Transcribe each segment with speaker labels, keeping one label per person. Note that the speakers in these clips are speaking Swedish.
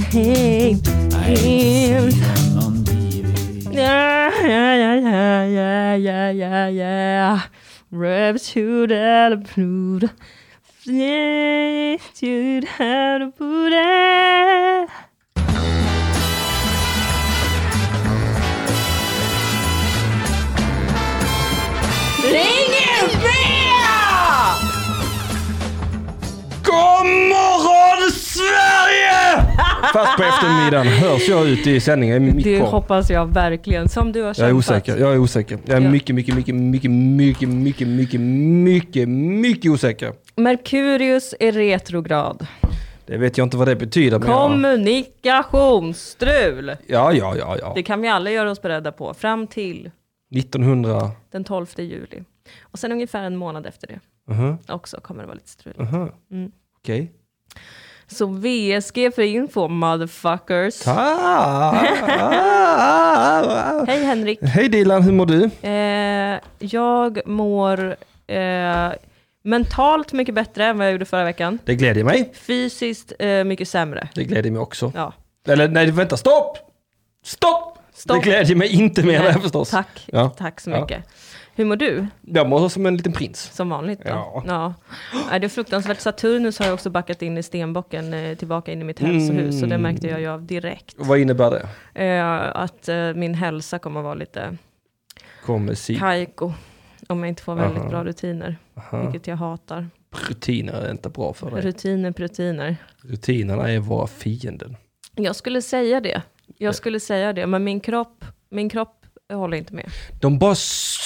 Speaker 1: hey.
Speaker 2: Nej, någon divig.
Speaker 1: Yeah, yeah, yeah, yeah, yeah, yeah, yeah. Rev to the blood. Yes, to the blood.
Speaker 3: God morgon Sverige! Fast på eftermiddagen hörs jag ut i sändningen. i mitt
Speaker 1: Det
Speaker 3: kvar.
Speaker 1: hoppas jag verkligen. Som du har kämpat.
Speaker 3: Jag är osäker. Jag är osäker. Jag är
Speaker 1: Ja.
Speaker 3: mycket, mycket, mycket, mycket, mycket, mycket, mycket, mycket, mycket osäker.
Speaker 1: Merkurius är retrograd.
Speaker 3: Det vet jag inte vad det betyder. men jag-
Speaker 1: Kommunikationsstrul.
Speaker 3: Ja, ja, ja, ja.
Speaker 1: Det kan vi alla göra oss beredda på. Fram till
Speaker 3: 1900.
Speaker 1: den 12 juli. Och sen ungefär en månad efter det
Speaker 3: Mhm,
Speaker 1: också kommer det vara lite strul.
Speaker 3: mhm.
Speaker 1: Mm.
Speaker 3: Okej.
Speaker 1: Så VSG för info, motherfuckers.
Speaker 3: Ta-
Speaker 1: Hej Henrik.
Speaker 3: Hej Dilan, hur mår du?
Speaker 1: Eh, jag mår eh, mentalt mycket bättre än vad jag gjorde förra veckan.
Speaker 3: Det gläder mig.
Speaker 1: Fysiskt eh, mycket sämre.
Speaker 3: Det gläder mig också.
Speaker 1: Ja,
Speaker 3: Eller nej, vänta, stopp! Stopp!
Speaker 1: Stopp.
Speaker 3: Det gläder mig inte mer
Speaker 1: Nej,
Speaker 3: än förstås.
Speaker 1: Eh, tack.
Speaker 3: Ja.
Speaker 1: Tack så
Speaker 3: Ja.
Speaker 1: mycket. Hur mår du?
Speaker 3: Jag mår som en liten prins.
Speaker 1: Som vanligt då?
Speaker 3: Ja.
Speaker 1: Nej, Det är fruktansvärt. Saturnus har ju också backat in i stenbocken eh, tillbaka in i mitt hälsohus. Så det märkte jag ju av direkt.
Speaker 3: Vad innebär det?
Speaker 1: Eh, att eh, min hälsa kommer att vara lite
Speaker 3: Kommer si
Speaker 1: kajko. Om jag inte får väldigt
Speaker 3: Aha.
Speaker 1: bra rutiner. Vilket jag hatar.
Speaker 3: Rutiner är inte bra för dig.
Speaker 1: Rutiner, rutiner.
Speaker 3: Rutinerna är våra fienden.
Speaker 1: Jag skulle säga det.
Speaker 3: Eh.
Speaker 1: Jag skulle säga det, men min kropp, min kropp håller inte med.
Speaker 3: De bara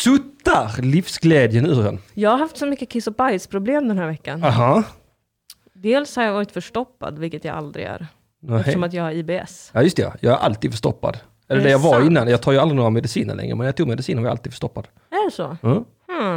Speaker 3: suttar livsglädjen ur en.
Speaker 1: Jag har haft så mycket kiss och bajsproblem den här veckan.
Speaker 3: Aha.
Speaker 1: Dels har jag varit förstoppad, vilket jag aldrig är.
Speaker 3: Nej.
Speaker 1: Eftersom att jag har IBS.
Speaker 3: Ja just det, jag är alltid förstoppad. Eller
Speaker 1: Är
Speaker 3: det
Speaker 1: det
Speaker 3: jag var
Speaker 1: sant?
Speaker 3: innan, jag tar ju aldrig några mediciner längre, men när jag tog mediciner var jag alltid förstoppad.
Speaker 1: Är det så?
Speaker 3: Mm.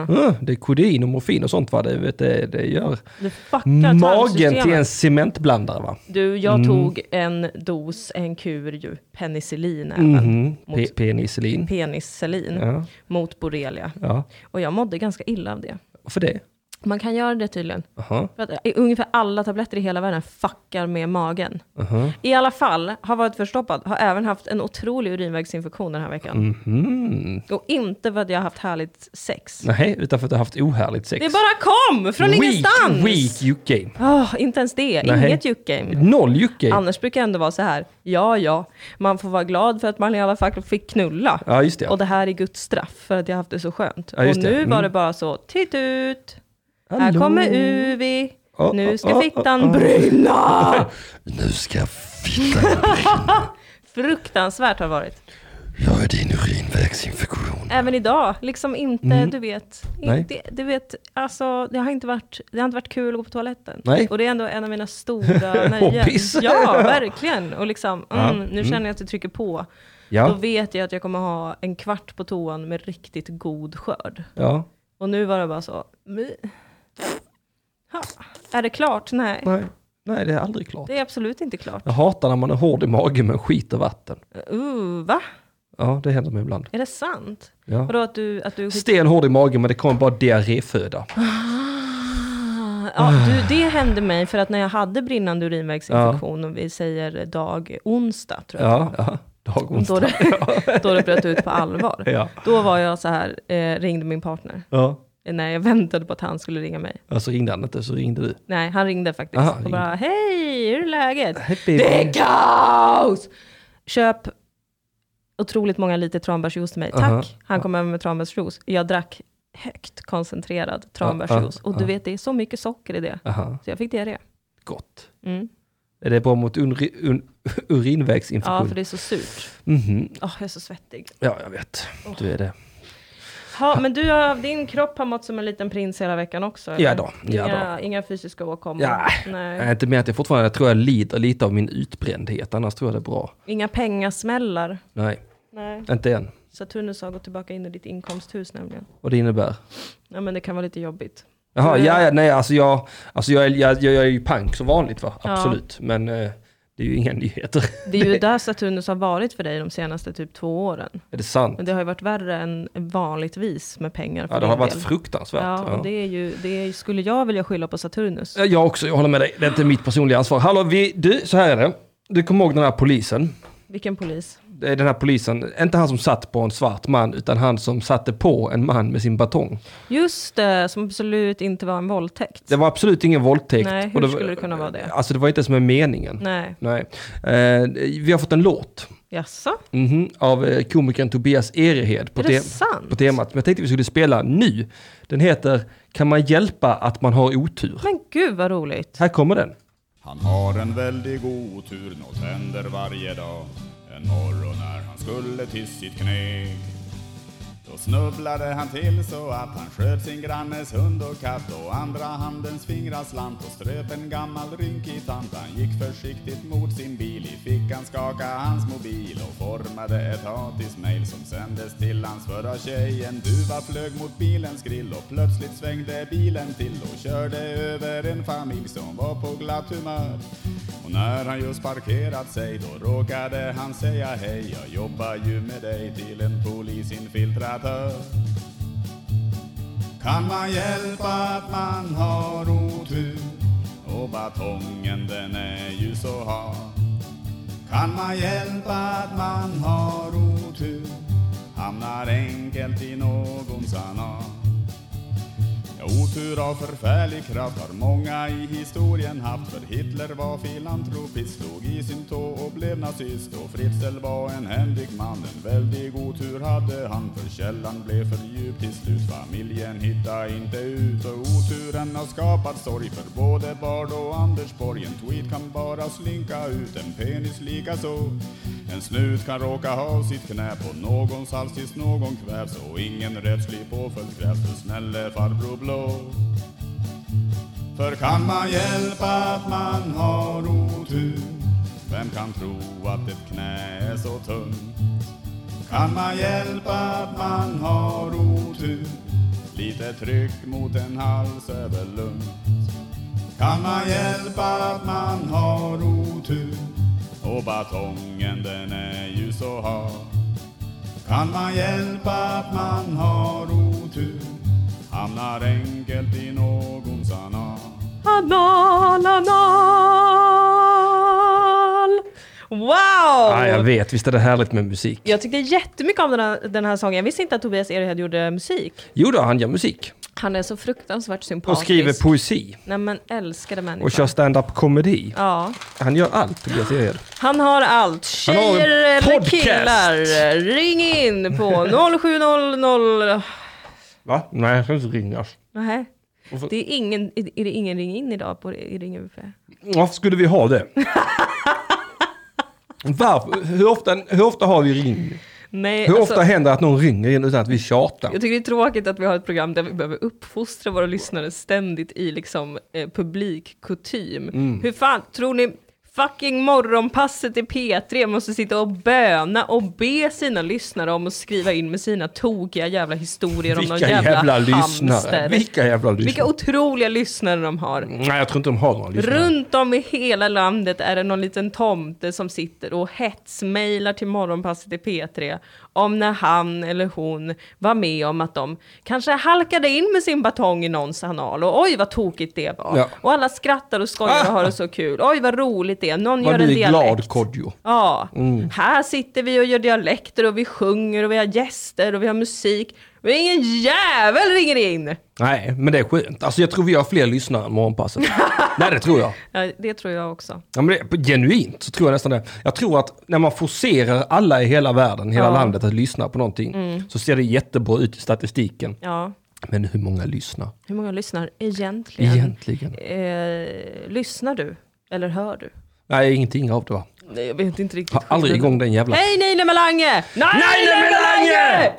Speaker 1: Hmm.
Speaker 3: Mm. Det är kodein och morfin och sånt va, det, vet, det, det gör
Speaker 1: Du fuckar
Speaker 3: magen till en Mm.
Speaker 1: tarmsystemet.
Speaker 3: cementblandare va.
Speaker 1: Du, jag tog en dos, en kur ju, penicillin även.
Speaker 3: Mhm.
Speaker 1: Mot-
Speaker 3: Pe- Penicillin.
Speaker 1: Penicillin
Speaker 3: Ja,
Speaker 1: mot borrelia.
Speaker 3: ja.
Speaker 1: Och jag mådde ganska illa av det.
Speaker 3: Varför det?
Speaker 1: Man kan göra det tydligen.
Speaker 3: Aha.
Speaker 1: För att eh, ungefär alla tabletter i hela världen fuckar med magen.
Speaker 3: Aha.
Speaker 1: I alla fall, har varit förstoppad, har även haft en otrolig urinvägsinfektion den här veckan.
Speaker 3: Mhm.
Speaker 1: Och inte för att jag har haft härligt sex.
Speaker 3: Nej, utan för att jag har haft ohärligt sex.
Speaker 1: Det bara kom från
Speaker 3: weak,
Speaker 1: ingenstans!
Speaker 3: Weak juck game.
Speaker 1: Åh, inte ens det,
Speaker 3: Nej.
Speaker 1: inget juck game.
Speaker 3: Noll juck game.
Speaker 1: Annars brukar jag ändå vara så här, ja ja, man får vara glad för att man i alla fall fick knulla.
Speaker 3: ja just det.
Speaker 1: Och det här är Guds straff för att jag haft det så skönt.
Speaker 3: Ja,
Speaker 1: och
Speaker 3: just det.
Speaker 1: nu var
Speaker 3: Mm.
Speaker 1: det bara så, titt ut, här kommer Uvi,
Speaker 3: Oh,
Speaker 1: nu ska
Speaker 3: oh, oh,
Speaker 1: fittan brinna!
Speaker 3: Nu ska fittan...
Speaker 1: Fruktansvärt har det varit.
Speaker 3: Jag är din urinvägsinfektion.
Speaker 1: Även idag, liksom inte, du vet,
Speaker 3: Mm. Nej.
Speaker 1: inte, du vet, alltså det har inte varit, det har inte varit kul att gå på toaletten.
Speaker 3: Nej.
Speaker 1: Och det är ändå en av mina stora nöjen.
Speaker 3: Hobbies.
Speaker 1: ja, verkligen. Och liksom,
Speaker 3: Ja.
Speaker 1: mm, nu känner jag att det trycker på. Då
Speaker 3: Ja,
Speaker 1: vet jag att jag kommer ha en kvart på toan med riktigt god skörd.
Speaker 3: ja.
Speaker 1: Och nu var det bara så, "My." ha, är det klart? Nej.
Speaker 3: Nej. Nej, det är aldrig klart.
Speaker 1: Det är absolut inte klart.
Speaker 3: Jag hatar när man är hård i magen men skiter vatten.
Speaker 1: Uh, va?
Speaker 3: Ja, det händer mig ibland.
Speaker 1: Är det sant?
Speaker 3: Ja.
Speaker 1: Vadå att du, att du
Speaker 3: Stenhård i magen men det kommer bara diarréföda.
Speaker 1: Ah, Ja, du, det hände mig för att när jag hade brinnande urinvägsinfektion, och vi säger dag onsdag tror jag,
Speaker 3: Ja, ja. Dag
Speaker 1: Då,
Speaker 3: onsdag.
Speaker 1: det, då det bröt ut på allvar.
Speaker 3: Ja.
Speaker 1: Då var jag så här, eh, ringde min partner,
Speaker 3: ja.
Speaker 1: eh, när jag väntade på att han skulle ringa mig.
Speaker 3: Alltså ringde han inte så ringde du.
Speaker 1: Nej, han ringde faktiskt
Speaker 3: Aha,
Speaker 1: och
Speaker 3: ringde.
Speaker 1: bara, hej, hur är läget?
Speaker 3: Hej, baby.
Speaker 1: Det är kaos! Köp otroligt många liter tranbärsjuice till mig. Tack!
Speaker 3: Aha.
Speaker 1: Han kom över med tranbärsjuice. Jag drack högt koncentrerad tranbärsjuice. Och du
Speaker 3: ah.
Speaker 1: vet, det är så mycket socker i det.
Speaker 3: Aha,
Speaker 1: Så jag fick diarré.
Speaker 3: gott.
Speaker 1: Mm.
Speaker 3: Är det bra mot unri, un,
Speaker 1: Ja,
Speaker 3: urinvägsinfektion?
Speaker 1: för det är så surt.
Speaker 3: Mhm.
Speaker 1: Åh, jag är så svettig.
Speaker 3: Ja, jag vet. Du är det.
Speaker 1: Ha, men du har, din kropp har mått som en liten prins hela veckan också? eller?
Speaker 3: Ja då, ja
Speaker 1: inga, inga fysiska åkommor?
Speaker 3: Ja.
Speaker 1: Nej.
Speaker 3: Nej, inte mer att jag fortfarande jag tror jag lider lite av min utbrändhet, annars tror jag det är bra.
Speaker 1: Inga pengasmällar?
Speaker 3: Nej,
Speaker 1: Nej.
Speaker 3: inte än.
Speaker 1: Saturnus har gått tillbaka in i ditt inkomsthus nämligen.
Speaker 3: Vad det innebär?
Speaker 1: Ja, men det kan vara lite jobbigt.
Speaker 3: Jaha,
Speaker 1: Mm.
Speaker 3: ja, ja, nej, alltså jag, alltså jag, är- jag, jag, jag är ju pank som vanligt va? Absolut, men eh, det är ju inga nyheter.
Speaker 1: Det är ju där Saturnus har varit för dig de senaste typ två åren.
Speaker 3: Är det sant?
Speaker 1: Men det har ju varit värre än vanligtvis med pengar för
Speaker 3: Ja, det
Speaker 1: din
Speaker 3: har varit
Speaker 1: del.
Speaker 3: fruktansvärt.
Speaker 1: Ja, och det, är ju, det är, skulle jag vilja skylla på Saturnus.
Speaker 3: Ja, Jag också, jag håller med dig. Det är inte mitt personliga ansvar. Hallå, vi, du, så här är det. Du kommer ihåg den här polisen?
Speaker 1: Vilken polis?
Speaker 3: Det är eh, Den här polisen, inte han som satt på en svart man, utan han som satte på en man med sin batong.
Speaker 1: Just det, som absolut inte var en våldtäkt.
Speaker 3: Det var absolut ingen våldtäkt.
Speaker 1: Nej, hur
Speaker 3: och det, var-
Speaker 1: skulle det kunna vara det?
Speaker 3: Alltså det var inte ens med meningen.
Speaker 1: Nej,
Speaker 3: Nej. Eh, vi har fått en låt
Speaker 1: jaså?
Speaker 3: mhm, av eh, komikern Tobias Erehed på,
Speaker 1: Är det
Speaker 3: te-
Speaker 1: sant?
Speaker 3: på temat. Men jag tänkte vi skulle spela nu. Den heter Kan man hjälpa att man har otur?
Speaker 1: Men gud vad roligt.
Speaker 3: Här kommer den.
Speaker 4: Han har en väldig otur, något händer varje dag. En morgon när han skulle till sitt kneg. Då snubblade han till så att han sköt sin grannes hund och katt och andra handens fingrar slant och ströp en gammal rynkig tant. Han gick försiktigt mot sin bil, i fickan skaka hans mobil och formade ett hatiskt mail som sändes till hans förra tjej. En duva flög mot bilens grill och plötsligt svängde bilen till och körde över en familj som var på glatt humör. Och när han just parkerat sig då råkade han säga hej, jag jobbar ju med dig till en polisinfiltratör. Kan man hjälpa att man har otur? Och batongen den är ju så hal. Kan man hjälpa att man har otur? Hamnar enkelt i någons anal. Ja, otur av förfärlig kraft har många i historien haft För Hitler var filantropist, slog i sin tå och blev nazist Och Fritzl var en händig man, en väldig otur hade han För källan blev för djup till slut, familjen hittade inte ut Och oturen har skapat sorg för både Bard och Anders Borg En tweet kan bara slinka ut, en penis lika så en snut kan råka ha sitt knä på någons hals tills någon kvävs och ingen rättslig påföljd krävs för snälle farbror blå. För kan man hjälpa att man har otur? Vem kan tro att ett knä är så tungt? Kan man hjälpa att man har otur? Lite tryck mot en hals är väl lugnt? kan man hjälpa att man har otur och batongen den är ju så hal. Kan man hjälpa att man har otur hamnar enkelt i någons anal.
Speaker 1: Anal, anal. Wow!
Speaker 3: Ja, Ah, jag vet, visst är det härligt med musik?
Speaker 1: Jag tyckte jättemycket om den här, den här sången. Jag visste inte att Tobias Erehed gjorde musik.
Speaker 3: Jo då, han gör musik.
Speaker 1: Han är så fruktansvärt
Speaker 3: Och
Speaker 1: sympatisk.
Speaker 3: skriver poesi.
Speaker 1: Nej men älskade människa.
Speaker 3: Och kör stand-up komedi.
Speaker 1: Ja.
Speaker 3: Han gör allt, Tobias Erehed.
Speaker 1: Han har allt.
Speaker 3: Han har en
Speaker 1: Tjejer eller
Speaker 3: podcast.
Speaker 1: killar. Ring in på 0700...
Speaker 3: Va? Nej, jag ska inte ringas.
Speaker 1: Nej.
Speaker 3: Och så-
Speaker 1: Det är, ingen, är det ingen ring in idag på i Ring UP?
Speaker 3: Varför skulle vi ha det? Varför? Hur ofta, hur ofta har vi ring?
Speaker 1: Nej,
Speaker 3: Hur
Speaker 1: alltså,
Speaker 3: ofta händer det att någon ringer in utan att vi tjatar?
Speaker 1: jag tycker det är tråkigt att vi har ett program där vi behöver uppfostra våra lyssnare ständigt i liksom eh, publikkutym.
Speaker 3: Mm.
Speaker 1: Hur fan tror ni fucking morgonpasset i P3 måste sitta och böna och be sina lyssnare om att skriva in med sina tokiga jävla historier om någon
Speaker 3: Vilka
Speaker 1: jävla,
Speaker 3: jävla lyssnare.
Speaker 1: hamster.
Speaker 3: Vilka jävla
Speaker 1: Vilka
Speaker 3: lyssnare. Mm.
Speaker 1: otroliga lyssnare de har.
Speaker 3: Nej, jag tror inte de har några lyssnare.
Speaker 1: Runt om i hela landet är det någon liten tomte som sitter och hetsmailar till morgonpasset i P3 om när han eller hon var med om att de kanske halkade in med sin batong i någons anal och oj vad tokigt det var.
Speaker 3: Ja. Ah.
Speaker 1: Och alla skrattar och skojar och har det så kul. Oj vad roligt det är. Någon
Speaker 3: Vad
Speaker 1: gör en
Speaker 3: du är
Speaker 1: dialekt.
Speaker 3: glad, Mm. Kodjo.
Speaker 1: Ja, här sitter vi och gör dialekter och vi sjunger och vi har gäster och vi har musik. Men ingen jävel ringer in!
Speaker 3: Nej, men det är skönt. Alltså jag tror vi har fler lyssnare än Morgonpasset. Nej, det tror jag.
Speaker 1: Ja, det tror jag också.
Speaker 3: Ja, men det, genuint så tror jag nästan det. Jag tror att när man forcerar alla i hela världen, hela
Speaker 1: Ja. Mm.
Speaker 3: landet att lyssna på någonting så ser det jättebra ut i statistiken.
Speaker 1: Ja,
Speaker 3: Men hur många lyssnar
Speaker 1: hur många lyssnar egentligen?
Speaker 3: egentligen?
Speaker 1: Eh, lyssnar du? Eller hör du?
Speaker 3: Nej, ingenting av det va?
Speaker 1: Nej, jag vet inte riktigt.
Speaker 3: Har aldrig igång den jävla...
Speaker 1: Hej Nine Melange!
Speaker 3: Nej, Nine Melange!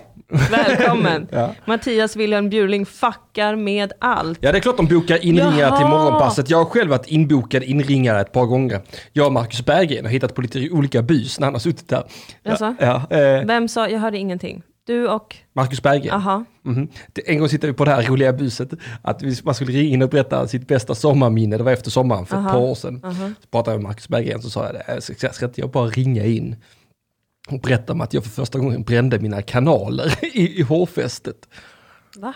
Speaker 1: Välkommen!
Speaker 3: Ja.
Speaker 1: Mattias Wilhelm Bjurling fuckar med allt.
Speaker 3: Ja, det är klart de bokar inringare
Speaker 1: Jaha.
Speaker 3: till morgonpasset. Jag har själv varit inbokad inringare ett par gånger. Jag och Marcus Berggren har hittat på lite olika bys när han har suttit där.
Speaker 1: Jaså?
Speaker 3: Ja, ja, eh,
Speaker 1: Alltså, Vem sa, jag hörde ingenting. Du och,
Speaker 3: Marcus Berggren.
Speaker 1: aha.
Speaker 3: Mhm. Det- En gång tittade vi på det här roliga buset, att vi- man skulle ringa in och berätta sitt bästa sommarminne, det var efter sommaren för ett
Speaker 1: Aha.
Speaker 3: par år sedan. Så pratade jag med Marcus Berggren så sa jag det, "Eh, ska, ska- ska inte jag bara ringa in och berätta om att jag för första gången brände mina kanaler i, i hårfästet.
Speaker 1: Va?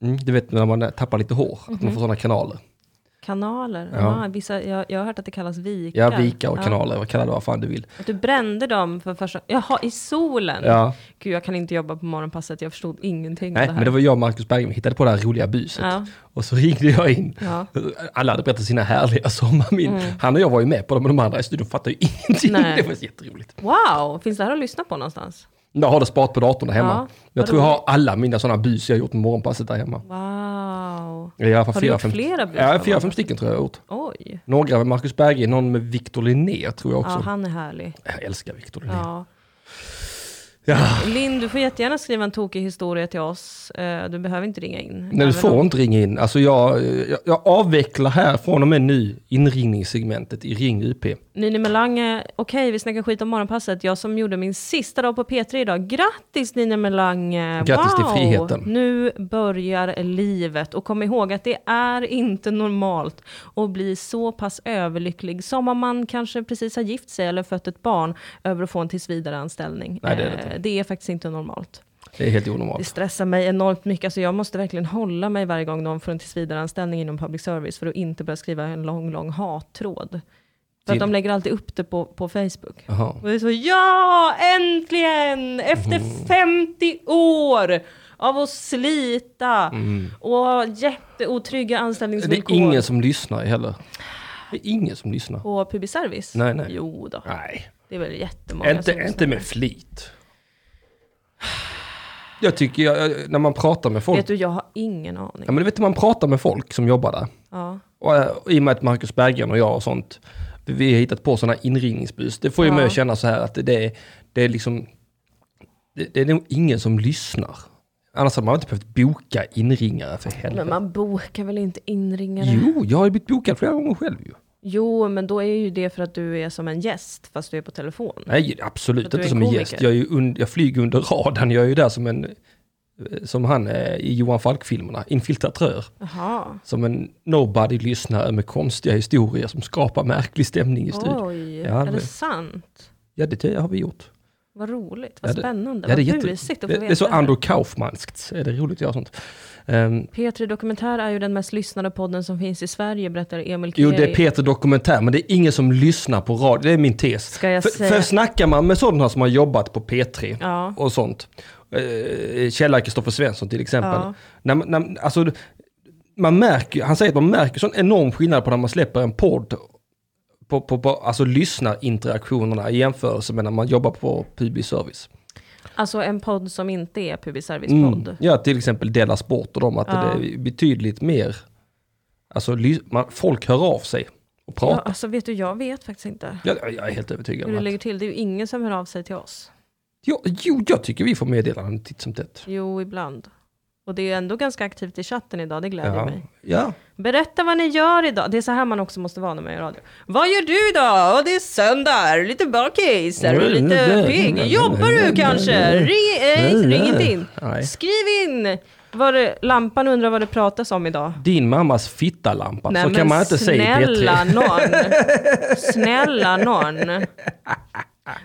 Speaker 1: Mhm.
Speaker 3: Mm, du vet när man tappar lite hår, att man får sådana kanaler.
Speaker 1: Kanaler?
Speaker 3: Ja.
Speaker 1: Ja. vissa, jag, jag har hört att det kallas vikar.
Speaker 3: Ja, vika och
Speaker 1: Ja.
Speaker 3: kanaler, vad kallar det vad fan du vill.
Speaker 1: Att du brände dem för första... Jaha, i solen?
Speaker 3: Ja.
Speaker 1: Gud, jag kan inte jobba på morgonpasset. Jag förstod ingenting av
Speaker 3: Nej,
Speaker 1: det
Speaker 3: men
Speaker 1: här.
Speaker 3: det var jag och Marcus Berggren, vi hittade på det här roliga buset.
Speaker 1: Ja.
Speaker 3: Och så ringde jag in.
Speaker 1: Ja. Mm.
Speaker 3: Alla hade berättat sina härliga sommarminnen. Han och jag var ju med på dem, men de andra i studion fattade ju ingenting.
Speaker 1: Nej.
Speaker 3: Det var jätteroligt.
Speaker 1: Wow, finns det här att lyssna på någonstans?
Speaker 3: Jag har det sparat på datorn där hemma.
Speaker 1: Ja,
Speaker 3: jag
Speaker 1: vad
Speaker 3: tror jag har alla mina sådana bus jag har gjort med morgonpasset där hemma.
Speaker 1: Wow.
Speaker 3: Eller I alla fall
Speaker 1: Har du
Speaker 3: fyra,
Speaker 1: gjort
Speaker 3: fem,
Speaker 1: flera bus
Speaker 3: Ja,
Speaker 1: med
Speaker 3: fyra, fem
Speaker 1: morgonpasset?
Speaker 3: stycken tror jag jag har gjort.
Speaker 1: Oj.
Speaker 3: Några med Marcus Berggren, någon med Victor Linné tror jag
Speaker 1: Ja,
Speaker 3: också.
Speaker 1: han är härlig.
Speaker 3: Jag älskar Victor Linné.
Speaker 1: Ja.
Speaker 3: Ja.
Speaker 1: Linn, du får jättegärna skriva en tokig historia till oss. Eh, Du behöver inte ringa in.
Speaker 3: Nej, du
Speaker 1: Även
Speaker 3: får
Speaker 1: om-
Speaker 3: inte ringa in. Alltså jag, jag, jag avvecklar här från och med nu inringningssegmentet i Ring UP.
Speaker 1: Nini Melange, okej vi snackar skit om morgonpasset. Jag som gjorde min sista dag på P3 idag. Grattis Nini Melange!
Speaker 3: Grattis till friheten.
Speaker 1: Nu börjar livet och kom ihåg att det är inte normalt att bli så pass överlycklig som om man kanske precis har gift sig eller fött ett barn över att få en tillsvidareanställning.
Speaker 3: Nej, det är det inte.
Speaker 1: Eh, det är faktiskt inte normalt.
Speaker 3: Det är helt
Speaker 1: Det
Speaker 3: onormalt.
Speaker 1: stressar mig enormt mycket. Alltså jag måste verkligen hålla mig varje gång någon får en tillsvidareanställning inom public service för att inte börja skriva en lång, lång hattråd. För
Speaker 3: Till-
Speaker 1: att de lägger alltid upp det på, på Facebook.
Speaker 3: Jaha.
Speaker 1: Och det är så, ja, äntligen! Efter
Speaker 3: Mm.
Speaker 1: 50 år av att slita och ha jätteotrygga
Speaker 3: Mm. Det är
Speaker 1: anställningsvillkor
Speaker 3: ingen som lyssnar heller. Det är ingen som lyssnar.
Speaker 1: på public service.
Speaker 3: Nej, nej.
Speaker 1: Jo då,
Speaker 3: Nej,
Speaker 1: det är väl jättemånga
Speaker 3: inte,
Speaker 1: som lyssnar.
Speaker 3: inte med flit. Jag tycker, jag, jag- när man pratar med folk,
Speaker 1: Vet du, jag har ingen aning.
Speaker 3: ja, men du vet man pratar med folk som jobbar där.
Speaker 1: Ja.
Speaker 3: Och, eh, och I och med att Marcus Berggren och jag och sånt, vi- vi har hittat på sådana inringningsbus. Det får ju
Speaker 1: Ja.
Speaker 3: mig att känna så här att det- det är, det är liksom, det, det är nog ingen som lyssnar. Annars hade man inte behövt boka inringare för helvete.
Speaker 1: Men man bokar väl inte inringare?
Speaker 3: Jo, jag har ju blivit bokad flera gånger själv ju.
Speaker 1: Jo, men då är ju det för att du är som en gäst, fast du är på telefon.
Speaker 3: Nej, absolut
Speaker 1: För att du
Speaker 3: inte
Speaker 1: är
Speaker 3: som en
Speaker 1: komiker.
Speaker 3: gäst. Jag, är ju und- jag flyger under radarn, jag är ju där som en, eh, som han eh, i Johan Falk-filmerna, infiltratör.
Speaker 1: Jaha.
Speaker 3: Som en nobody-lyssnare med konstiga historier som skapar märklig stämning i studion.
Speaker 1: Oj,
Speaker 3: Ja,
Speaker 1: är det
Speaker 3: men-
Speaker 1: sant?
Speaker 3: Ja, det, det har vi gjort.
Speaker 1: Vad roligt, vad
Speaker 3: Ja, det-
Speaker 1: spännande,
Speaker 3: Ja,
Speaker 1: vad
Speaker 3: det, är jätte-
Speaker 1: busigt att
Speaker 3: det,
Speaker 1: få
Speaker 3: det
Speaker 1: veta.
Speaker 3: är så
Speaker 1: här.
Speaker 3: Andrew Kaufmanskt, är det roligt att göra sånt. Ehm,
Speaker 1: P3 Dokumentär är ju den mest lyssnade podden som finns i Sverige, berättar Emil E.
Speaker 3: jo,
Speaker 1: Keri.
Speaker 3: det är Peter Dokumentär, men det är ingen som lyssnar på radio, det är min tes.
Speaker 1: Ska jag
Speaker 3: för,
Speaker 1: säga-
Speaker 3: för snackar man med sådana som har jobbat på P3
Speaker 1: Ja.
Speaker 3: och sånt, eh, Kjella Kristoffer Svensson till exempel,
Speaker 1: Ja.
Speaker 3: när, man- när, alltså, man märker, han säger att man märker sån enorm skillnad på när man släpper en podd på, på, på alltså lyssnarinteraktionerna i jämförelse med när man jobbar på public service.
Speaker 1: Alltså en podd som inte är Public Service-podd.
Speaker 3: Mm. Ja, till exempel Della Sport och dem, att
Speaker 1: Ja.
Speaker 3: det är betydligt mer, alltså ly- man, folk hör av sig och
Speaker 1: Ja,
Speaker 3: pratar.
Speaker 1: alltså vet du, jag vet faktiskt inte
Speaker 3: Ja. Jag, jag är helt övertygad
Speaker 1: hur det
Speaker 3: om att,
Speaker 1: ligger till. Det är ju ingen som hör av sig till oss.
Speaker 3: jo, jo, jag tycker vi får meddelanden titt som tätt.
Speaker 1: Jo, ibland. Och det är ju ändå ganska aktivt i chatten idag, det gläder
Speaker 3: Ja.
Speaker 1: mig.
Speaker 3: ja,
Speaker 1: Berätta vad ni gör idag. Det är så här man också måste vara när man gör radio. Vad gör du idag? Och det är söndag. Är du lite bakis? Är du lite pigg? Jobbar du kanske? Ring, eh, ring inte in.
Speaker 3: Nej.
Speaker 1: Skriv in. Vad det, lampan undrar vad det pratas om idag.
Speaker 3: Din mammas fittalampa,
Speaker 1: Nej,
Speaker 3: så
Speaker 1: men
Speaker 3: kan man inte säga i
Speaker 1: snälla
Speaker 3: P3.
Speaker 1: någon. Snälla någon.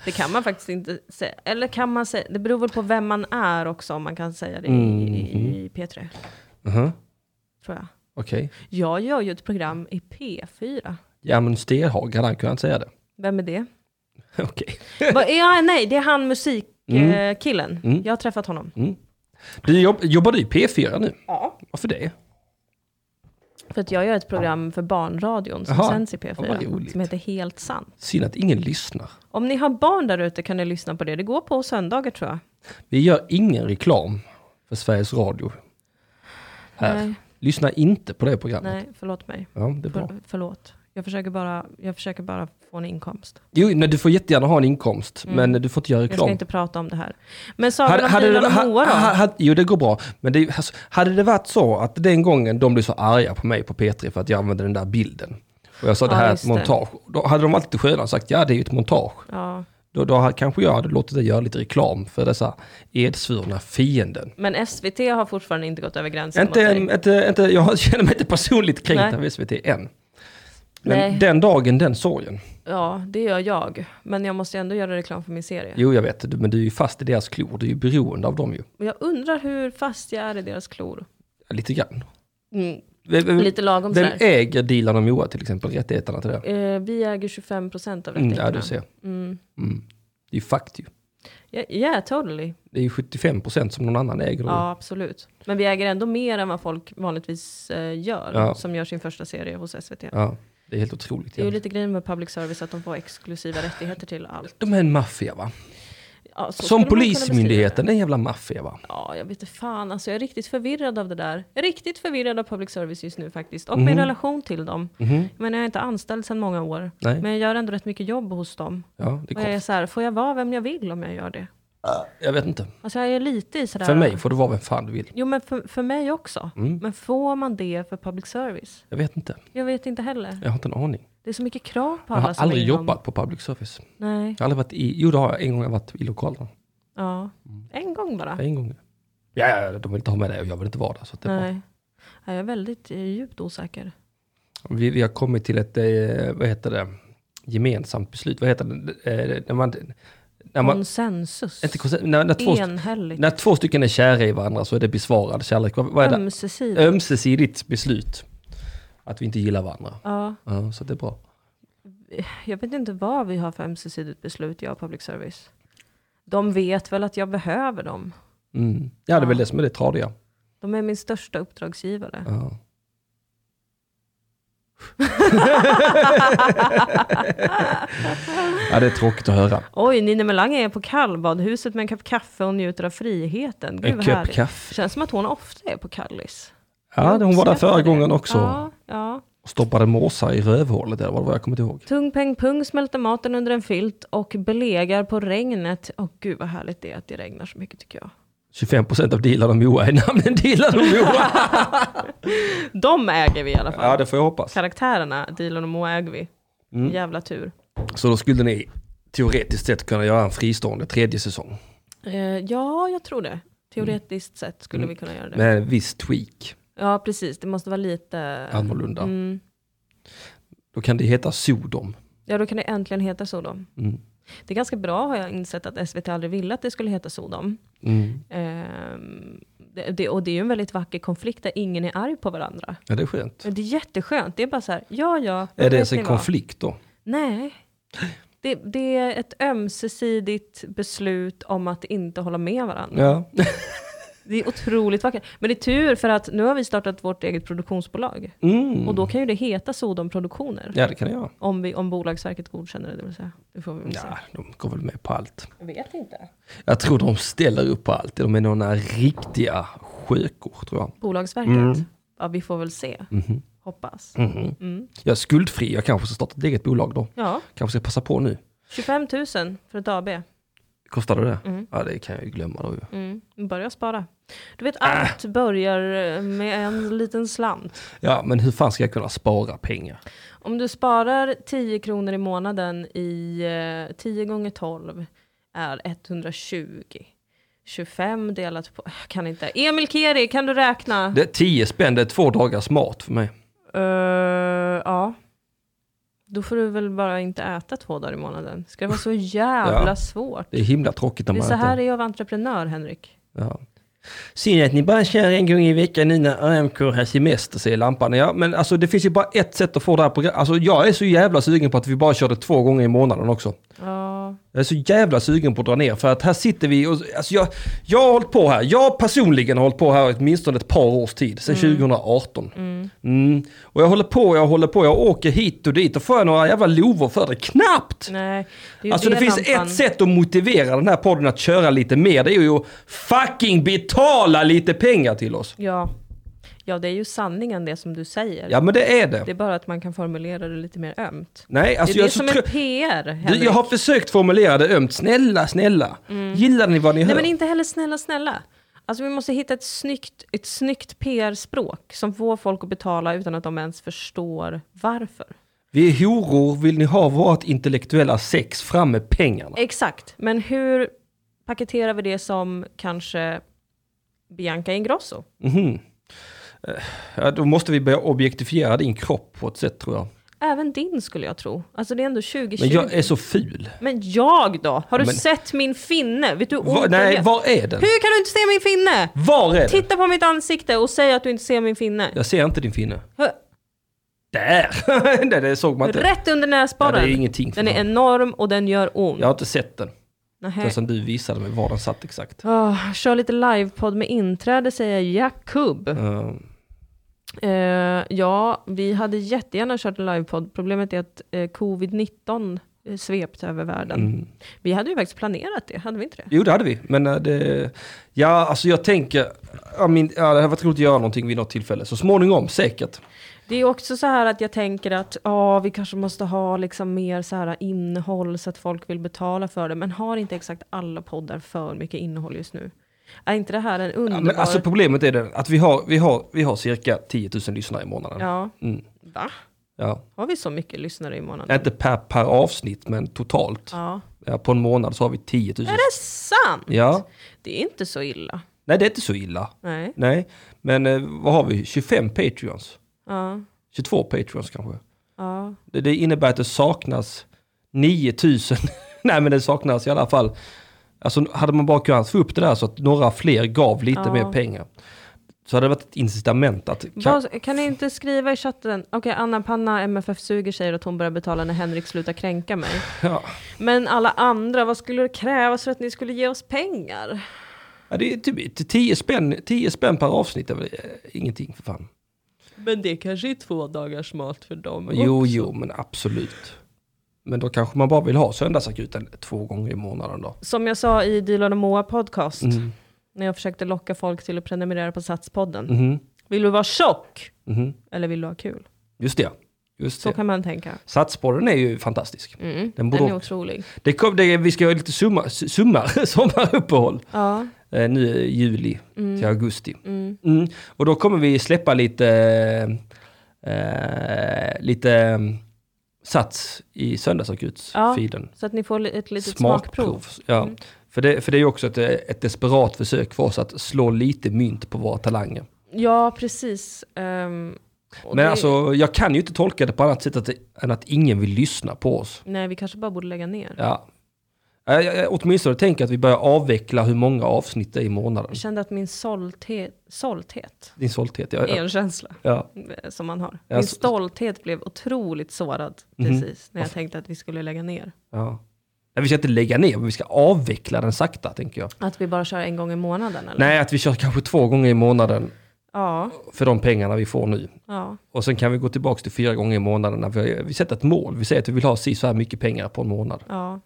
Speaker 1: Det kan man faktiskt inte säga. Eller kan man säga? Det beror väl på vem man är också om man kan säga det i, i, i P3.
Speaker 3: Mhm,
Speaker 1: Tror jag.
Speaker 3: Okej,
Speaker 1: Jag gör ju ett program i P4.
Speaker 3: ja men Stenhag hade han kunnat säga det.
Speaker 1: Vem är det?
Speaker 3: Okej.
Speaker 1: Vad- ja, nej, det är han musikkillen. Eh, killen.
Speaker 3: Mm.
Speaker 1: Jag har träffat honom.
Speaker 3: Du jobb, jobbar du i P4 nu?
Speaker 1: Ja.
Speaker 3: Varför det?
Speaker 1: För att jag gör ett program för barnradion som
Speaker 3: Jaha.
Speaker 1: sänds i
Speaker 3: Ja, vad roligt.
Speaker 1: P4. Som heter Helt sant.
Speaker 3: Synd att ingen lyssnar.
Speaker 1: Om ni har barn där ute kan ni lyssna på det. Det går på söndagar tror jag.
Speaker 3: Vi gör ingen reklam för Sveriges Radio. Här.
Speaker 1: Nej,
Speaker 3: Lyssna inte på det programmet.
Speaker 1: nej förlåt mig.
Speaker 3: Ja, det är bra.
Speaker 1: För, förlåt. Jag försöker, bara, jag försöker bara få en inkomst.
Speaker 3: Jo, nej, du får jättegärna ha en inkomst, men du får inte göra
Speaker 1: Mm. Jag ska
Speaker 3: reklam.
Speaker 1: inte prata om det här. Men Sagan om Dylan och
Speaker 3: ha-
Speaker 1: Moa då?
Speaker 3: ha- ha- jo, det går bra. Men det, är ju- alltså, hade det varit så att den gången de blev så arga på mig på P3 för att jag använde den där bilden, och jag sa det
Speaker 1: Ja,
Speaker 3: här är ett
Speaker 1: just det.
Speaker 3: montage, då hade de varit lite sköna och sagt ja, det är ju ett montage.
Speaker 1: Ja.
Speaker 3: Då, då hade- kanske jag hade låtit dig göra lite reklam för dessa edsvurna fienden.
Speaker 1: Men SVT har fortfarande inte gått över gränsen mot
Speaker 3: Inte,
Speaker 1: dig.
Speaker 3: inte, inte, jag känner mig inte personligt kränkt
Speaker 1: Nej.
Speaker 3: av SVT än. Men
Speaker 1: Nej.
Speaker 3: den dagen, den sorgen.
Speaker 1: Ja, det gör jag. Men jag måste ju ändå göra reklam för min serie.
Speaker 3: Jo, jag vet, du- men du är ju fast i deras klor, du är ju beroende av dem ju.
Speaker 1: Men jag undrar hur fast jag är i deras klor.
Speaker 3: Lite grann.
Speaker 1: Mm.
Speaker 3: Vem,
Speaker 1: Lite lagom
Speaker 3: vem
Speaker 1: sådär.
Speaker 3: äger Dilan och Moa till exempel, rättigheterna till det?
Speaker 1: Eh, vi äger 25% av
Speaker 3: Mm,
Speaker 1: rättigheterna.
Speaker 3: ja, du ser.
Speaker 1: Mm.
Speaker 3: Mm. Det är ju fakt ju.
Speaker 1: Yeah, yeah, totally.
Speaker 3: Det är ju 75% som någon annan äger.
Speaker 1: Ja, absolut. Men vi äger ändå mer än vad folk vanligtvis eh, gör,
Speaker 3: Ja.
Speaker 1: som gör sin första serie hos SVT.
Speaker 3: Ja, det är helt otroligt.
Speaker 1: Det är ju
Speaker 3: egentligen.
Speaker 1: lite grejen med public service, att de får exklusiva rättigheter till allt.
Speaker 3: De är en maffia va?
Speaker 1: Ja, så skulle man
Speaker 3: Som
Speaker 1: kunna beskriva det.
Speaker 3: Polismyndigheten, det är en jävla maffia va?
Speaker 1: Ja, jag vet inte fan. Alltså, jag är riktigt förvirrad av det där. Jag är riktigt förvirrad av public service just nu faktiskt. Och min relation till dem.
Speaker 3: Mhm.
Speaker 1: Men jag är inte anställd sedan många år.
Speaker 3: Nej.
Speaker 1: Men jag gör ändå rätt mycket jobb hos dem.
Speaker 3: Ja, det är
Speaker 1: Och jag är
Speaker 3: konstigt.
Speaker 1: så här, får jag vara vem jag vill om jag gör det?
Speaker 3: Jag vet inte.
Speaker 1: Alltså jag är lite i sådär...
Speaker 3: För mig Mm. får du vara vem fan du vill.
Speaker 1: Jo, men för, för mig också. Men får man det för public service?
Speaker 3: Jag vet inte.
Speaker 1: Jag vet inte heller.
Speaker 3: Jag har inte en aning.
Speaker 1: Det är så mycket krav på
Speaker 3: Jag
Speaker 1: alla som
Speaker 3: har
Speaker 1: alltså, är
Speaker 3: aldrig
Speaker 1: inom-
Speaker 3: jobbat på public service.
Speaker 1: Nej,
Speaker 3: Jag har aldrig varit i, jo det har jag, en gång har jag varit i lokalerna.
Speaker 1: ja.
Speaker 3: Mm.
Speaker 1: En gång bara.
Speaker 3: En gång. Ja, ja, ja, de vill inte ha med det och jag vill inte vara där. Så att det är bra.
Speaker 1: Nej. Ja, Jag är väldigt eh, djupt osäker.
Speaker 3: Vi, vi har kommit till ett, eh, vad heter det, gemensamt beslut. Vad heter det, eh, när man, när man,
Speaker 1: Konsensus.
Speaker 3: inte konsen- när, när, två,
Speaker 1: Enhälligt.
Speaker 3: när två stycken är kära i varandra så är det besvarad kärlek. Vad, vad är det?
Speaker 1: Ömsesidigt.
Speaker 3: Ömsesidigt beslut. Att vi inte gillar varandra.
Speaker 1: Ja,
Speaker 3: Ja, så det är bra.
Speaker 1: jag vet inte vad vi har för ömsesidigt beslut, jag och public service. De vet väl att jag behöver dem.
Speaker 3: Mm. Ja, det är väl det som är det tradiga.
Speaker 1: De är min största uppdragsgivare.
Speaker 3: Ja. ja, det är tråkigt att höra.
Speaker 1: Oj, Nina Melange är på kallbadhuset med en kopp kaffe och njuter av friheten. Gud,
Speaker 3: En
Speaker 1: vad
Speaker 3: kopp
Speaker 1: härligt.
Speaker 3: kaffe.
Speaker 1: Känns som att hon ofta är på Kallis.
Speaker 3: Ja, det- hon var där förra
Speaker 1: Uppskattar det.
Speaker 3: gången också.
Speaker 1: Ja, ja.
Speaker 3: Och stoppade måsar i rövhålet, eller vad det var jag kommer ihåg.
Speaker 1: Tung peng pung smälter maten under en filt och belegar på regnet. Åh gud vad härligt det är att det regnar så mycket tycker jag.
Speaker 3: 25% av Dilan och Moa är namnen Dilan och Moa.
Speaker 1: De äger vi i alla fall.
Speaker 3: ja, det får jag hoppas. Mm.
Speaker 1: Karaktärerna, Dilan och Moa äger vi. Jävla tur.
Speaker 3: Så då skulle ni teoretiskt sett kunna göra en fristående tredje säsong.
Speaker 1: Eh, ja, jag tror det. Teoretiskt
Speaker 3: Mm.
Speaker 1: sett skulle vi kunna göra det.
Speaker 3: Med en viss tweak,
Speaker 1: Ja, precis. Det måste vara lite...
Speaker 3: annorlunda.
Speaker 1: Mm.
Speaker 3: Då kan det heta Sodom.
Speaker 1: Ja, då kan det äntligen heta Sodom.
Speaker 3: Mm.
Speaker 1: Det är ganska bra har jag insett att SVT aldrig ville att det skulle heta Sodom.
Speaker 3: Mm.
Speaker 1: Ehm, det, det, och det är ju en väldigt vacker konflikt där ingen är arg på varandra.
Speaker 3: Ja, det är skönt.
Speaker 1: Men Det är jätteskönt. Det är bara så här, ja ja.
Speaker 3: Är
Speaker 1: vet
Speaker 3: det ens
Speaker 1: ni
Speaker 3: en
Speaker 1: vad?
Speaker 3: konflikt då?
Speaker 1: Nej. Det, det är ett ömsesidigt beslut om att inte hålla med varandra.
Speaker 3: Ja.
Speaker 1: Det är otroligt vackert. Men det är tur för att nu har vi startat vårt eget produktionsbolag.
Speaker 3: Mm.
Speaker 1: Och då kan ju det heta Sodom Produktioner.
Speaker 3: Ja, det kan jag göra.
Speaker 1: Om, vi, om Bolagsverket godkänner det, det vill säga. Det får vi väl se.
Speaker 3: Ja, de går väl med på allt.
Speaker 1: Jag vet inte.
Speaker 3: Jag tror de ställer upp på allt. De är några riktiga sjökor, tror jag.
Speaker 1: Bolagsverket?
Speaker 3: Mm.
Speaker 1: Ja, vi får väl se. Hoppas.
Speaker 3: Mhm.
Speaker 1: Mm.
Speaker 3: Jag är skuldfri, jag kanske ska starta ett eget bolag då.
Speaker 1: Ja,
Speaker 3: Kanske ska passa på nu.
Speaker 1: 25 000 för ett AB.
Speaker 3: Kostar det det?
Speaker 1: Mm.
Speaker 3: Ja, det kan jag ju glömma då ju.
Speaker 1: Mm. Börja spara. Du
Speaker 3: Äh.
Speaker 1: vet, allt börjar eh, med en liten slant.
Speaker 3: Ja, men hur fan ska jag kunna spara pengar?
Speaker 1: Om du sparar 10 kronor i månaden i eh, 10 gånger 12 är 120. 25 delat på... Jag kan inte. Emil Keri, kan du räkna?
Speaker 3: Det är 10 spänn, det är två dagars mat för mig.
Speaker 1: Eh, ja. Då får du väl bara inte äta två dagar i månaden. Ska det vara så jävla
Speaker 3: Ja.
Speaker 1: svårt?
Speaker 3: Det är himla tråkigt när
Speaker 1: Det är
Speaker 3: man
Speaker 1: så här
Speaker 3: äter.
Speaker 1: det är att vara entreprenör, Henrik.
Speaker 3: Ja. Synd att ni bara kör en gång i veckan nu när AMK har semester, säger lampan. Ja, men alltså det finns ju bara ett sätt att få det här programmet. Alltså jag är så jävla sugen på att vi bara kör det två gånger i månaden också.
Speaker 1: Ja,
Speaker 3: Jag är så jävla sugen på att dra ner för att här sitter vi och alltså jag, jag har hållit på här. Jag personligen har hållit på här åtminstone ett par års tid, sedan 2018. Mm. Och jag håller på, jag håller på, jag åker hit och dit och får jag några jävla lovor för det. Knappt!
Speaker 1: nej. Det är ju
Speaker 3: Alltså det, finns
Speaker 1: lampan-
Speaker 3: ett sätt att motivera den här podden att köra lite mer. Det är ju att fucking betala lite pengar till oss.
Speaker 1: Ja. ja, det är ju sanningen det som du säger.
Speaker 3: Ja men det är det.
Speaker 1: Det är bara att man kan formulera det lite mer ömt.
Speaker 3: Nej, alltså
Speaker 1: det är
Speaker 3: jag,
Speaker 1: det
Speaker 3: är så
Speaker 1: som
Speaker 3: trö-
Speaker 1: är PR,
Speaker 3: Du,
Speaker 1: Henrik. Mm.
Speaker 3: jag har försökt formulera det ömt. Snälla, snälla. Gillar ni vad ni hör?
Speaker 1: Nej, men inte heller snälla, snälla. Alltså vi måste hitta ett snyggt, ett snyggt PR-språk som får folk att betala utan att de ens förstår varför.
Speaker 3: Vi är horor, vill ni ha vårt intellektuella sex fram med pengarna?
Speaker 1: Exakt, men hur paketerar vi det som kanske Bianca Ingrosso?
Speaker 3: Mhm. Eh, Ja, då måste vi börja objektifiera din kropp på ett sätt tror jag.
Speaker 1: Även din skulle jag tro. Alltså det är ändå 2020.
Speaker 3: Men jag är så ful.
Speaker 1: Men jag då? Har du
Speaker 3: Men-
Speaker 1: sett min finne? Vet du hur ont
Speaker 3: Va,
Speaker 1: den
Speaker 3: nej,
Speaker 1: är?
Speaker 3: var är den?
Speaker 1: Hur kan du inte se min finne?
Speaker 3: Var är den?
Speaker 1: Titta på mitt ansikte och säg att du inte ser min finne.
Speaker 3: Jag ser inte din finne.
Speaker 1: Hö-
Speaker 3: Där! Nej, det såg man inte.
Speaker 1: Rätt under
Speaker 3: Ja, det
Speaker 1: näsborren.
Speaker 3: är ingenting för
Speaker 1: den är
Speaker 3: mig.
Speaker 1: enorm och den gör ont.
Speaker 3: Jag har inte sett den.
Speaker 1: Nähä.
Speaker 3: Den som du visade mig var den satt exakt.
Speaker 1: Åh, kör lite livepodd med inträde säger Jakub.
Speaker 3: Eh,
Speaker 1: Eh, ja, vi hade jättegärna kört en livepodd. Problemet är att eh, covid-19 svept över världen.
Speaker 3: Mm.
Speaker 1: Vi hade ju faktiskt planerat det, hade vi inte det?
Speaker 3: Jo, det hade vi. Men eh, det... Ja, alltså jag tänker... Ja, min, ja, det hade varit roligt att göra någonting vid något tillfälle. Så småningom, säkert.
Speaker 1: Det är också så här att jag tänker att ja, vi kanske måste ha liksom mer så här innehåll så att folk vill betala för det. Men har inte exakt alla poddar för mycket innehåll just nu? Är inte det här en
Speaker 3: Ja,
Speaker 1: underbar...
Speaker 3: men alltså problemet är det att vi har, vi, har, vi har cirka 10 000 lyssnare i månaden. Ja.
Speaker 1: Ja.
Speaker 3: Mm.
Speaker 1: Va?
Speaker 3: Ja.
Speaker 1: Har vi så mycket lyssnare i månaden?
Speaker 3: Inte per, per avsnitt, men totalt.
Speaker 1: Ja.
Speaker 3: Ja, på en månad så har vi 10 000.
Speaker 1: Är det sant?
Speaker 3: Ja.
Speaker 1: Det är inte så illa.
Speaker 3: Nej, det är inte så illa.
Speaker 1: Nej.
Speaker 3: Nej, men eh, vad har vi? 25 Patreons?
Speaker 1: Ja.
Speaker 3: 22 Patreons kanske?
Speaker 1: Ja.
Speaker 3: Det, det innebär att det saknas 9 000. Nej, men det saknas i alla fall. Alltså hade man bara kunnat få upp det där så att några fler gav lite
Speaker 1: Ja.
Speaker 3: mer pengar. Så hade det varit ett incitament att... Kan,
Speaker 1: Vad- kan ni inte skriva i chatten? Okej, Anna Panna, MFF Suger, säger att hon börjar betala när Henrik slutar kränka mig.
Speaker 3: ja.
Speaker 1: Men alla andra, vad skulle det krävas för att ni skulle ge oss pengar?
Speaker 3: Ja, det är typ 10 spänn, 10 spänn per avsnitt är väl eh, ingenting för fan.
Speaker 1: Men det kanske är två dagars mat för dem
Speaker 3: Jo, jo, men absolut. Men då kanske man bara vill ha söndagsakuten två gånger i månaden då.
Speaker 1: Som jag sa i Dilan och Moa podcast,
Speaker 3: Mm.
Speaker 1: när jag försökte locka folk till att prenumerera på Satspodden.
Speaker 3: Mhm,
Speaker 1: Vill du vara tjock?
Speaker 3: mhm.
Speaker 1: Eller vill du ha kul?
Speaker 3: Just det. Just
Speaker 1: Så
Speaker 3: det.
Speaker 1: kan man tänka.
Speaker 3: Satsporren är ju fantastisk.
Speaker 1: Mm.
Speaker 3: Den
Speaker 1: Den,
Speaker 3: borde-
Speaker 1: är otrolig.
Speaker 3: Det kom, det, vi ska göra lite summa, summar, sommaruppehåll
Speaker 1: Ja.
Speaker 3: eh, nu i juli till augusti.
Speaker 1: Mm.
Speaker 3: Mm. Och då kommer vi släppa lite, eh, lite eh, sats i
Speaker 1: Ja,
Speaker 3: söndagsakut-feeden.
Speaker 1: Så att ni får li- ett litet smakprov.
Speaker 3: Ja.
Speaker 1: Mm.
Speaker 3: För, det, för det är ju också ett, eh, ett desperat försök för oss att slå lite mynt på våra talanger.
Speaker 1: Ja, precis. Ehm, och
Speaker 3: Men
Speaker 1: det-
Speaker 3: alltså, jag kan ju inte tolka det på annat sätt att, det- än att ingen vill lyssna på oss.
Speaker 1: Nej, vi kanske bara borde lägga ner.
Speaker 3: Ja. Jag, jag, jag, åtminstone tänker att vi börjar avveckla hur många avsnitt det är i månaden.
Speaker 1: Jag kände att min sålthet, sålthet
Speaker 3: Din stolthet, ja.
Speaker 1: är
Speaker 3: ja.
Speaker 1: en känsla
Speaker 3: ja.
Speaker 1: eh, som man har.
Speaker 3: Ja, alltså- Mhm.
Speaker 1: Min
Speaker 3: så-
Speaker 1: stolthet blev otroligt sårad precis när jag tänkte att vi skulle lägga ner.
Speaker 3: ja. Nej, vi ska inte lägga ner, men vi ska avveckla den sakta, tänker jag.
Speaker 1: Att vi bara kör en gång i månaden eller?
Speaker 3: Nej, att vi kör kanske två gånger i månaden
Speaker 1: Ja,
Speaker 3: för de pengarna vi får nu.
Speaker 1: ja,
Speaker 3: Och sen kan vi gå tillbaka till fyra gånger i månaden när vi, vi sätter ett mål. Vi säger att vi vill ha si så här mycket pengar på en månad.
Speaker 1: ja.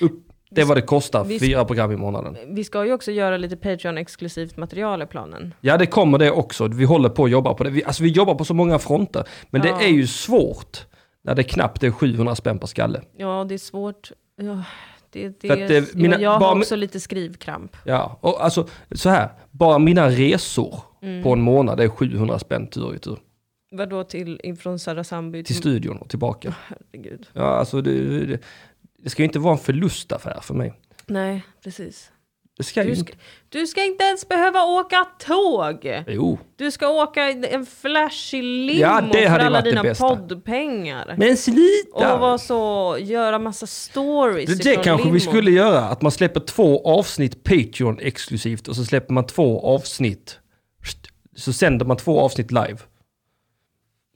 Speaker 3: Upp. Det är vad det kostar,
Speaker 1: vi-
Speaker 3: fyra program i månaden.
Speaker 1: Vi ska ju också göra lite Patreon-exklusivt material i planen.
Speaker 3: Ja, det kommer det också. Vi håller på att jobba på det. Vi, alltså, vi jobbar på så många fronter. Men
Speaker 1: Ja.
Speaker 3: det är ju svårt när det knappt är 700 spänn per skalle.
Speaker 1: Ja, det är svårt. Ja, det, det,
Speaker 3: För att, eh,
Speaker 1: ja,
Speaker 3: mina-
Speaker 1: jag
Speaker 3: bara-
Speaker 1: har också lite skrivkramp.
Speaker 3: Ja, och alltså så här. Bara mina resor
Speaker 1: Mm.
Speaker 3: på en månad är 700 spänn tur i tur.
Speaker 1: Vadå till, från Södra Sandby
Speaker 3: Till studion och tillbaka.
Speaker 1: Ah. Herregud.
Speaker 3: Ja, alltså det, det, det ska ju inte vara en förlustaffär för mig.
Speaker 1: Nej, precis.
Speaker 3: Det ska ju
Speaker 1: Du
Speaker 3: inte.
Speaker 1: ska, du ska inte ens behöva åka tåg!
Speaker 3: Jo.
Speaker 1: Du ska åka i en flashig limo
Speaker 3: Ja, det
Speaker 1: för
Speaker 3: hade
Speaker 1: alla
Speaker 3: varit det
Speaker 1: dina
Speaker 3: bästa.
Speaker 1: poddpengar.
Speaker 3: Men
Speaker 1: och
Speaker 3: slita!
Speaker 1: vara så, göra massa stories
Speaker 3: Det, det
Speaker 1: ifrån
Speaker 3: kanske vi
Speaker 1: limon.
Speaker 3: skulle göra, att man släpper två avsnitt Patreon exklusivt och så släpper man två avsnitt, så sänder man två avsnitt live.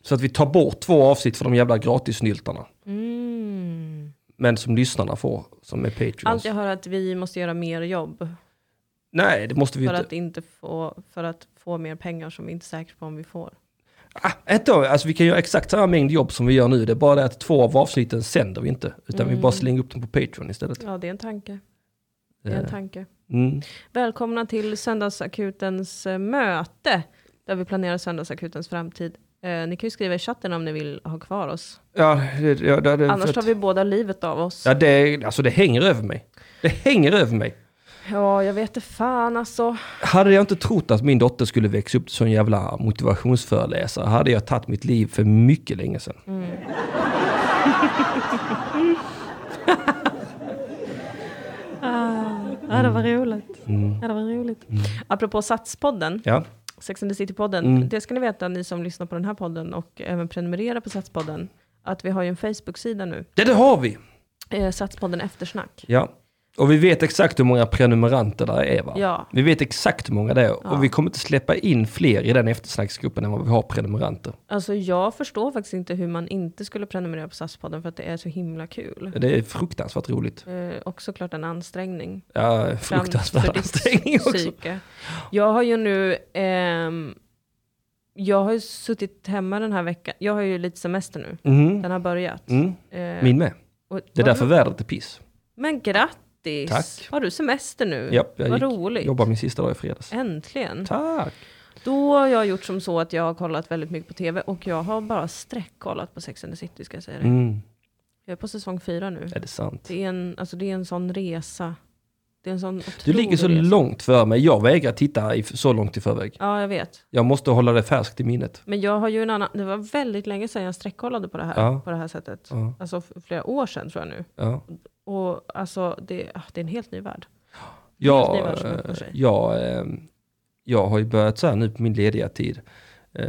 Speaker 3: Så att vi tar bort två avsnitt för de jävla gratisnyltarna.
Speaker 1: Mm.
Speaker 3: Men som lyssnarna får, som är Patreons.
Speaker 1: Allt jag hör är att vi måste göra mer jobb
Speaker 3: Nej, det måste vi
Speaker 1: för
Speaker 3: inte.
Speaker 1: att, inte få, för att få mer pengar som vi inte är säkra på om vi får.
Speaker 3: Ah, ett år, alltså vi kan göra exakt samma mängd jobb som vi gör nu, det är bara det att två av avsnitten sänder vi inte. Utan vi
Speaker 1: Mm.
Speaker 3: bara slänger upp dem på Patreon istället.
Speaker 1: Ja, det är en tanke. Det är en
Speaker 3: Eh,
Speaker 1: tanke.
Speaker 3: Mm.
Speaker 1: Välkomna till Söndagsakutens eh, möte där vi planerar Söndagsakutens framtid. Eh, ni kan ju skriva i chatten om ni vill ha kvar oss.
Speaker 3: Ja, det, ja, det, det,
Speaker 1: Annars
Speaker 3: för
Speaker 1: tar
Speaker 3: att-
Speaker 1: vi båda livet av oss.
Speaker 3: ja, det, alltså det hänger över mig. Det hänger över mig.
Speaker 1: Ja, jag vet inte fan alltså.
Speaker 3: Hade jag inte trott att min dotter skulle växa upp som en jävla motivationsföreläsare hade jag tagit mitt liv för mycket länge sedan.
Speaker 1: Mm. Ah, Ja, det var roligt.
Speaker 3: Mm.
Speaker 1: Ja, det var roligt. Apropå Satspodden,
Speaker 3: Ja, Mm.
Speaker 1: Sex and the City-podden. Det ska ni veta, ni som lyssnar på den här podden och även prenumererar på Satspodden, att vi har ju en Facebook-sida nu.
Speaker 3: Det, det har vi!
Speaker 1: Eh, Satspodden Eftersnack.
Speaker 3: Ja. Och vi vet exakt hur många prenumeranter där är va?
Speaker 1: Ja.
Speaker 3: Vi vet exakt hur många det är
Speaker 1: Ja.
Speaker 3: och vi kommer inte släppa in fler i den eftersnacksgruppen än vad vi har prenumeranter.
Speaker 1: Alltså jag förstår faktiskt inte hur man inte skulle prenumerera på SAS-podden för att det är så himla kul.
Speaker 3: Det är fruktansvärt roligt.
Speaker 1: Eh, och såklart en ansträngning.
Speaker 3: Ja,
Speaker 1: fram för
Speaker 3: fruktansvärd
Speaker 1: ditt
Speaker 3: ansträngning också.
Speaker 1: psyke. Jag har ju nu, ehm, jag har ju suttit hemma den här veckan. Jag har ju lite semester nu.
Speaker 3: Mm.
Speaker 1: Den har börjat.
Speaker 3: Mm.
Speaker 1: Eh,
Speaker 3: Min med.
Speaker 1: och-
Speaker 3: Det är därför vädret är piss.
Speaker 1: Men grattis!
Speaker 3: Tack.
Speaker 1: Har du semester nu?
Speaker 3: Japp, jag
Speaker 1: Vad
Speaker 3: gick-
Speaker 1: roligt.
Speaker 3: Jobbar min sista dag i fredags.
Speaker 1: Äntligen.
Speaker 3: Tack!
Speaker 1: Då har jag gjort som så att jag har kollat väldigt mycket på tv och jag har bara streckkollat på Sex and the City ska jag säga det.
Speaker 3: Mm.
Speaker 1: Jag är på säsong fyra nu.
Speaker 3: Är det sant?
Speaker 1: Det är en, alltså det är en sån resa. Det är en sån otrolig
Speaker 3: Du ligger så
Speaker 1: resa.
Speaker 3: långt för mig. Jag vägrar titta i, så långt i förväg.
Speaker 1: Ja, jag vet.
Speaker 3: Jag måste hålla det färskt i minnet.
Speaker 1: Men jag har ju en annan, det var väldigt länge sedan jag streckkollade på det här,
Speaker 3: Ja.
Speaker 1: på det här sättet.
Speaker 3: Ja,
Speaker 1: Alltså f- flera år sedan tror jag nu.
Speaker 3: ja.
Speaker 1: Och alltså det, ah, det är en helt ny värld.
Speaker 3: Jag,
Speaker 1: Det är världsmästare
Speaker 3: eh,
Speaker 1: för sig.
Speaker 3: jag, eh, jag har ju börjat så här nu på min lediga tid. Eh,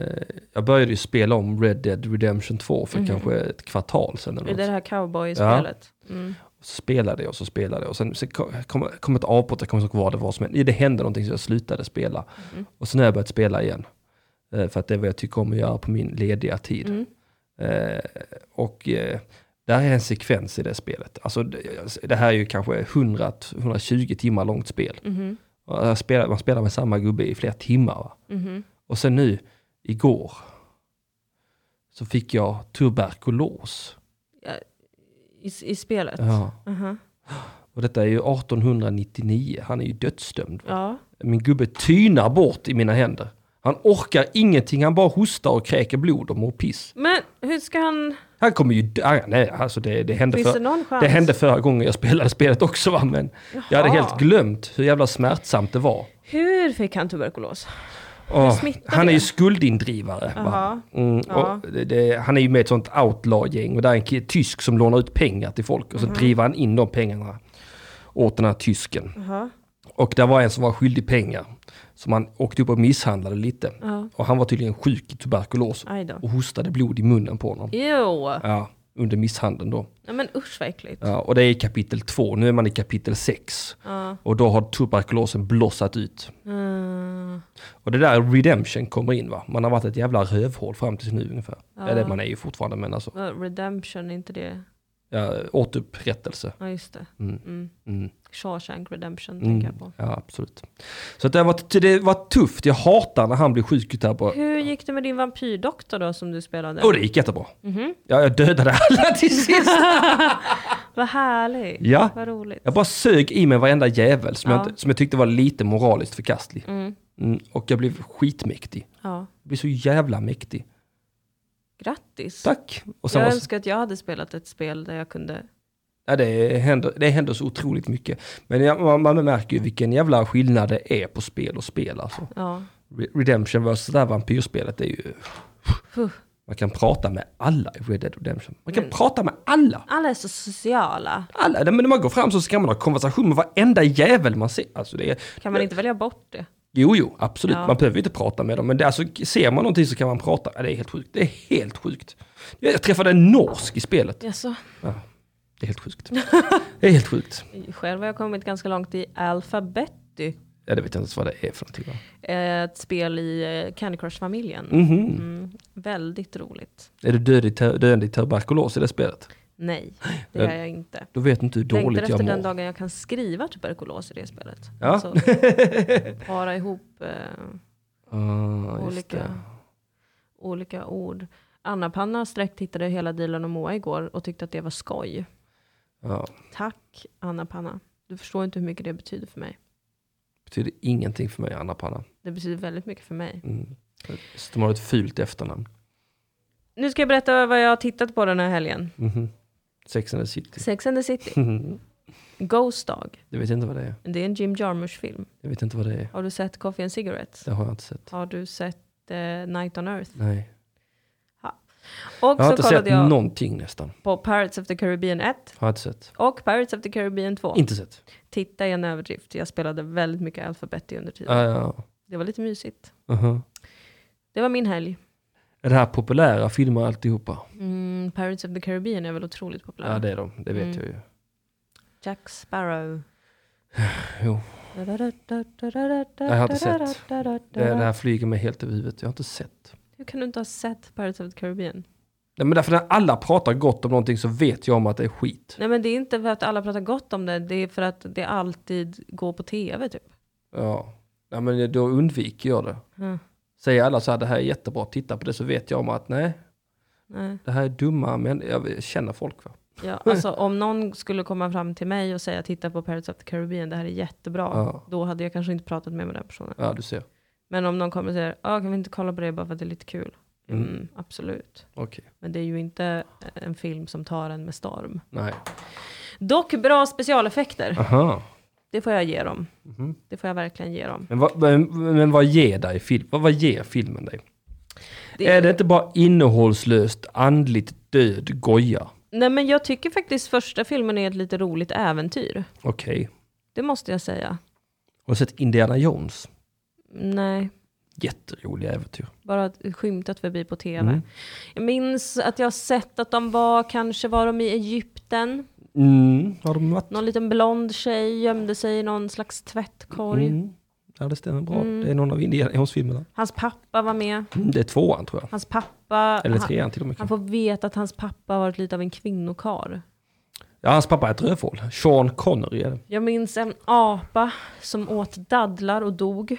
Speaker 3: Jag började ju spela om Red Dead Redemption 2 för kanske ett kvartal sedan. Eller
Speaker 1: Det Mhm. är det
Speaker 3: något.
Speaker 1: här cowboy-spelet. Mm.
Speaker 3: Spelade jag och så spelade jag och sen, sen kom, kom- kom ett avbrott, jag kommer inte ihåg vad det var som hände. Det hände någonting så jag slutade spela.
Speaker 1: Mm.
Speaker 3: Och sen har jag börjat spela igen. Eh, För att det är vad jag tycker om att göra på min lediga tid.
Speaker 1: Mm.
Speaker 3: Eh, och eh, där är en sekvens i det spelet. Alltså, det, det här är ju kanske 100, 120 timmar långt spel.
Speaker 1: Mhm.
Speaker 3: Och jag spelar, man spelar med samma gubbe i flera timmar. Va?
Speaker 1: Mhm.
Speaker 3: Och sen nu, igår, så fick jag tuberkulos.
Speaker 1: I, I spelet?
Speaker 3: Ja.
Speaker 1: Aha.
Speaker 3: Och detta är ju 1899, han är ju dödsdömd. va?
Speaker 1: Ja.
Speaker 3: Min gubbe tynar bort i mina händer. Han orkar ingenting, han bara hostar och kräker blod och mår piss.
Speaker 1: Men hur ska han...
Speaker 3: Han kommer ju dö, nej alltså det, det hände
Speaker 1: Finns
Speaker 3: för...
Speaker 1: det någon chans?
Speaker 3: Det hände förra gången jag spelade spelet också va, men jag hade
Speaker 1: Jaha.
Speaker 3: helt glömt hur jävla smärtsamt det var.
Speaker 1: Hur fick han tuberkulos?
Speaker 3: Åh,
Speaker 1: smittar
Speaker 3: han är ju
Speaker 1: det?
Speaker 3: skuldindrivare. Va?
Speaker 1: Jaha.
Speaker 3: Mm,
Speaker 1: Ja.
Speaker 3: och det, det, han är ju med i ett sånt outlaw-gäng och där är en ki- tysk som lånar ut pengar till folk
Speaker 1: Mhm.
Speaker 3: och så driver han in de pengarna åt den här tysken.
Speaker 1: Jaha.
Speaker 3: Och där var en som var skyldig pengar som han åkte upp och misshandlade lite.
Speaker 1: Ja.
Speaker 3: Och han var tydligen sjuk i tuberkulos
Speaker 1: Aj då.
Speaker 3: och hostade blod i munnen på honom.
Speaker 1: Jo!
Speaker 3: Ja, under misshandeln då.
Speaker 1: Ja, men usch vad äckligt.
Speaker 3: Ja, och det är kapitel två, nu är man i kapitel sex.
Speaker 1: Ja.
Speaker 3: Och då har tuberkulosen blossat ut.
Speaker 1: Mm.
Speaker 3: Och det där redemption kommer in va. Man har varit ett jävla rövhål fram till nu ungefär. Eller man är ju fortfarande men alltså.
Speaker 1: Vad, eh, Redemption, är inte det?
Speaker 3: Ja, återupprättelse.
Speaker 1: Ja, just det.
Speaker 3: Mm.
Speaker 1: Mm.
Speaker 3: Mm.
Speaker 1: Shawshank Redemption
Speaker 3: Mm.
Speaker 1: tänker jag på.
Speaker 3: Ja absolut. Så att det, var, det var tufft, jag hatar när han blir sjuk utav på.
Speaker 1: Hur gick det med din vampyrdoktor då som du spelade?
Speaker 3: Och det gick jättebra.
Speaker 1: Mhm.
Speaker 3: Ja, jag dödade alla till sist.
Speaker 1: Vad härligt.
Speaker 3: Ja.
Speaker 1: Vad roligt.
Speaker 3: Jag bara sög i mig varenda jävel som,
Speaker 1: Ja.
Speaker 3: jag, inte- som jag tyckte var lite moraliskt förkastlig.
Speaker 1: Mm.
Speaker 3: Mm, och jag blev skitmäktig.
Speaker 1: Ja.
Speaker 3: Jag blev så jävla mäktig.
Speaker 1: Grattis.
Speaker 3: Tack! Och sen
Speaker 1: Jag
Speaker 3: var,
Speaker 1: önskar att jag hade spelat ett spel där jag kunde...
Speaker 3: Ja, det, händer, det händer så otroligt mycket. Men jag, man, man märker
Speaker 1: Mm.
Speaker 3: ju vilken jävla skillnad det är på spel och spel. Alltså.
Speaker 1: Ja.
Speaker 3: Re- Redemption vs. det här vampyrspelet är ju...
Speaker 1: Huh.
Speaker 3: Man kan prata med alla i Red Dead Redemption. Man kan
Speaker 1: Men-
Speaker 3: prata med alla!
Speaker 1: Alla är så sociala.
Speaker 3: Alla! Nej, Men när man går fram så ska man ha konversation med varenda jävel man ser. Alltså det är,
Speaker 1: Kan man inte välja bort det?
Speaker 3: Jo, jo, absolut.
Speaker 1: Ja.
Speaker 3: Man behöver ju inte prata med dem. Men det, alltså, ser man någonting så kan man prata. Ja, det är helt sjukt. Det är helt sjukt. Jag, jag träffade en norsk i spelet.
Speaker 1: Jaså?
Speaker 3: Det är helt sjukt. Det är helt sjukt.
Speaker 1: Själv har jag kommit ganska långt i Alphabetti.
Speaker 3: Ja, det vet jag inte ens vad det är för någonting. va?
Speaker 1: Ett spel i eh, Candy Crush-familjen.
Speaker 3: Mhm.
Speaker 1: Mm. Väldigt roligt.
Speaker 3: Är du död i, ter- döende i tuberkulos i det spelet?
Speaker 1: Nej, det
Speaker 3: Eh,
Speaker 1: gör jag inte.
Speaker 3: Då vet inte hur
Speaker 1: Längtar
Speaker 3: dåligt
Speaker 1: efter
Speaker 3: jag
Speaker 1: den
Speaker 3: mår.
Speaker 1: dagen jag kan skriva tuberkulos i det spelet.
Speaker 3: Ja.
Speaker 1: Alltså, para ihop eh,
Speaker 3: Ah, just
Speaker 1: olika,
Speaker 3: det.
Speaker 1: olika ord. Anna-Panna sträcktittade hela Dilan och Moa igår och tyckte att det var skoj.
Speaker 3: Ja,
Speaker 1: Tack Anna-Panna. Du förstår inte hur mycket det betyder för mig.
Speaker 3: betyder ingenting för mig, Anna Panna.
Speaker 1: Det betyder väldigt mycket för mig.
Speaker 3: Mm. Så de har ett fult efternamn.
Speaker 1: Nu ska jag berätta vad jag har tittat på den här helgen.
Speaker 3: Mhm. Sex and the City. Mhm.
Speaker 1: Sex and the City. Ghost Dog.
Speaker 3: Det vet jag inte vad det är.
Speaker 1: Det är en Jim Jarmusch-film.
Speaker 3: Jag vet inte vad det är.
Speaker 1: Har du sett Coffee and Cigarettes?
Speaker 3: Det har jag inte sett.
Speaker 1: Har du sett eh, Night on Earth?
Speaker 3: Nej.
Speaker 1: Och
Speaker 3: Jag har
Speaker 1: så
Speaker 3: inte sett
Speaker 1: kollade jag
Speaker 3: någonting nästan.
Speaker 1: på Pirates of the Caribbean 1
Speaker 3: Har jag inte sett.
Speaker 1: och Pirates of the Caribbean 2.
Speaker 3: Inte sett.
Speaker 1: Titta är en överdrift. Jag spelade väldigt mycket Alphabet under tiden.
Speaker 3: Ja, ja,
Speaker 1: Det var lite mysigt.
Speaker 3: ja. Mhm.
Speaker 1: Det var min helg.
Speaker 3: den här populära filmer alltihopa.
Speaker 1: Mm, Pirates of the Caribbean är väl otroligt populär?
Speaker 3: Ja, det är de. Det vet
Speaker 1: Mm.
Speaker 3: jag ju.
Speaker 1: Jack Sparrow.
Speaker 3: Jo. Jag har inte sett. Det, det här flyger mig helt över huvudet. Jag har inte sett.
Speaker 1: Hur kan du inte ha sett Pirates of the Caribbean?
Speaker 3: Nej, men därför när alla pratar gott om någonting så vet jag om att det är skit.
Speaker 1: Nej men det är inte för att alla pratar gott om det, det är för att det alltid går på tv typ.
Speaker 3: Ja. ja, men då undviker jag det.
Speaker 1: Mm.
Speaker 3: Säger alla så här, det här är jättebra, titta på det, så vet jag om att nej,
Speaker 1: Nej.
Speaker 3: det här är dumma, men jag känner folk. Va?
Speaker 1: Ja, alltså, om någon skulle komma fram till mig och säga titta på Pirates of the Caribbean, det här är jättebra.
Speaker 3: Ja.
Speaker 1: Då hade jag kanske inte pratat mer med den personen.
Speaker 3: Ja, du ser.
Speaker 1: Men om någon kommer och säger, ah, kan vi inte kolla på det bara för att det är lite kul? Mm,
Speaker 3: Mm.
Speaker 1: absolut.
Speaker 3: Okej,
Speaker 1: Men det är ju inte en film som tar en med storm.
Speaker 3: nej.
Speaker 1: Dock bra specialeffekter.
Speaker 3: Aha. Mhm.
Speaker 1: Det får jag ge dem. Det får jag verkligen ge dem.
Speaker 3: Men, vad- men, men vad ger dig film? Vad, vad ger filmen dig?
Speaker 1: Det-
Speaker 3: Är det inte bara innehållslöst, andligt död goja?
Speaker 1: Nej men jag tycker faktiskt första filmen är ett lite roligt äventyr.
Speaker 3: Okej.
Speaker 1: Det måste jag säga.
Speaker 3: Har du sett Indiana Jones?
Speaker 1: Nej,
Speaker 3: Jätteroliga äventyr.
Speaker 1: bara skymtat förbi på tv.
Speaker 3: Mm.
Speaker 1: Jag minns att jag har sett att de var, kanske var de i Egypten.
Speaker 3: Mm, har de varit?
Speaker 1: Någon liten blond tjej gömde sig i någon slags tvättkorg.
Speaker 3: Mm. Ja, det stämmer bra. Det är någon av Indiana Jones-filmerna.
Speaker 1: Hans pappa var med.
Speaker 3: Mm, det är tvåan tror jag.
Speaker 1: Hans pappa...
Speaker 3: Eller
Speaker 1: han,
Speaker 3: trean till och med.
Speaker 1: han får veta att hans pappa har varit lite av en kvinnokar.
Speaker 3: Ja, hans pappa är ett rövhål. Sean Connery är det.
Speaker 1: Jag minns en apa som åt dadlar och dog.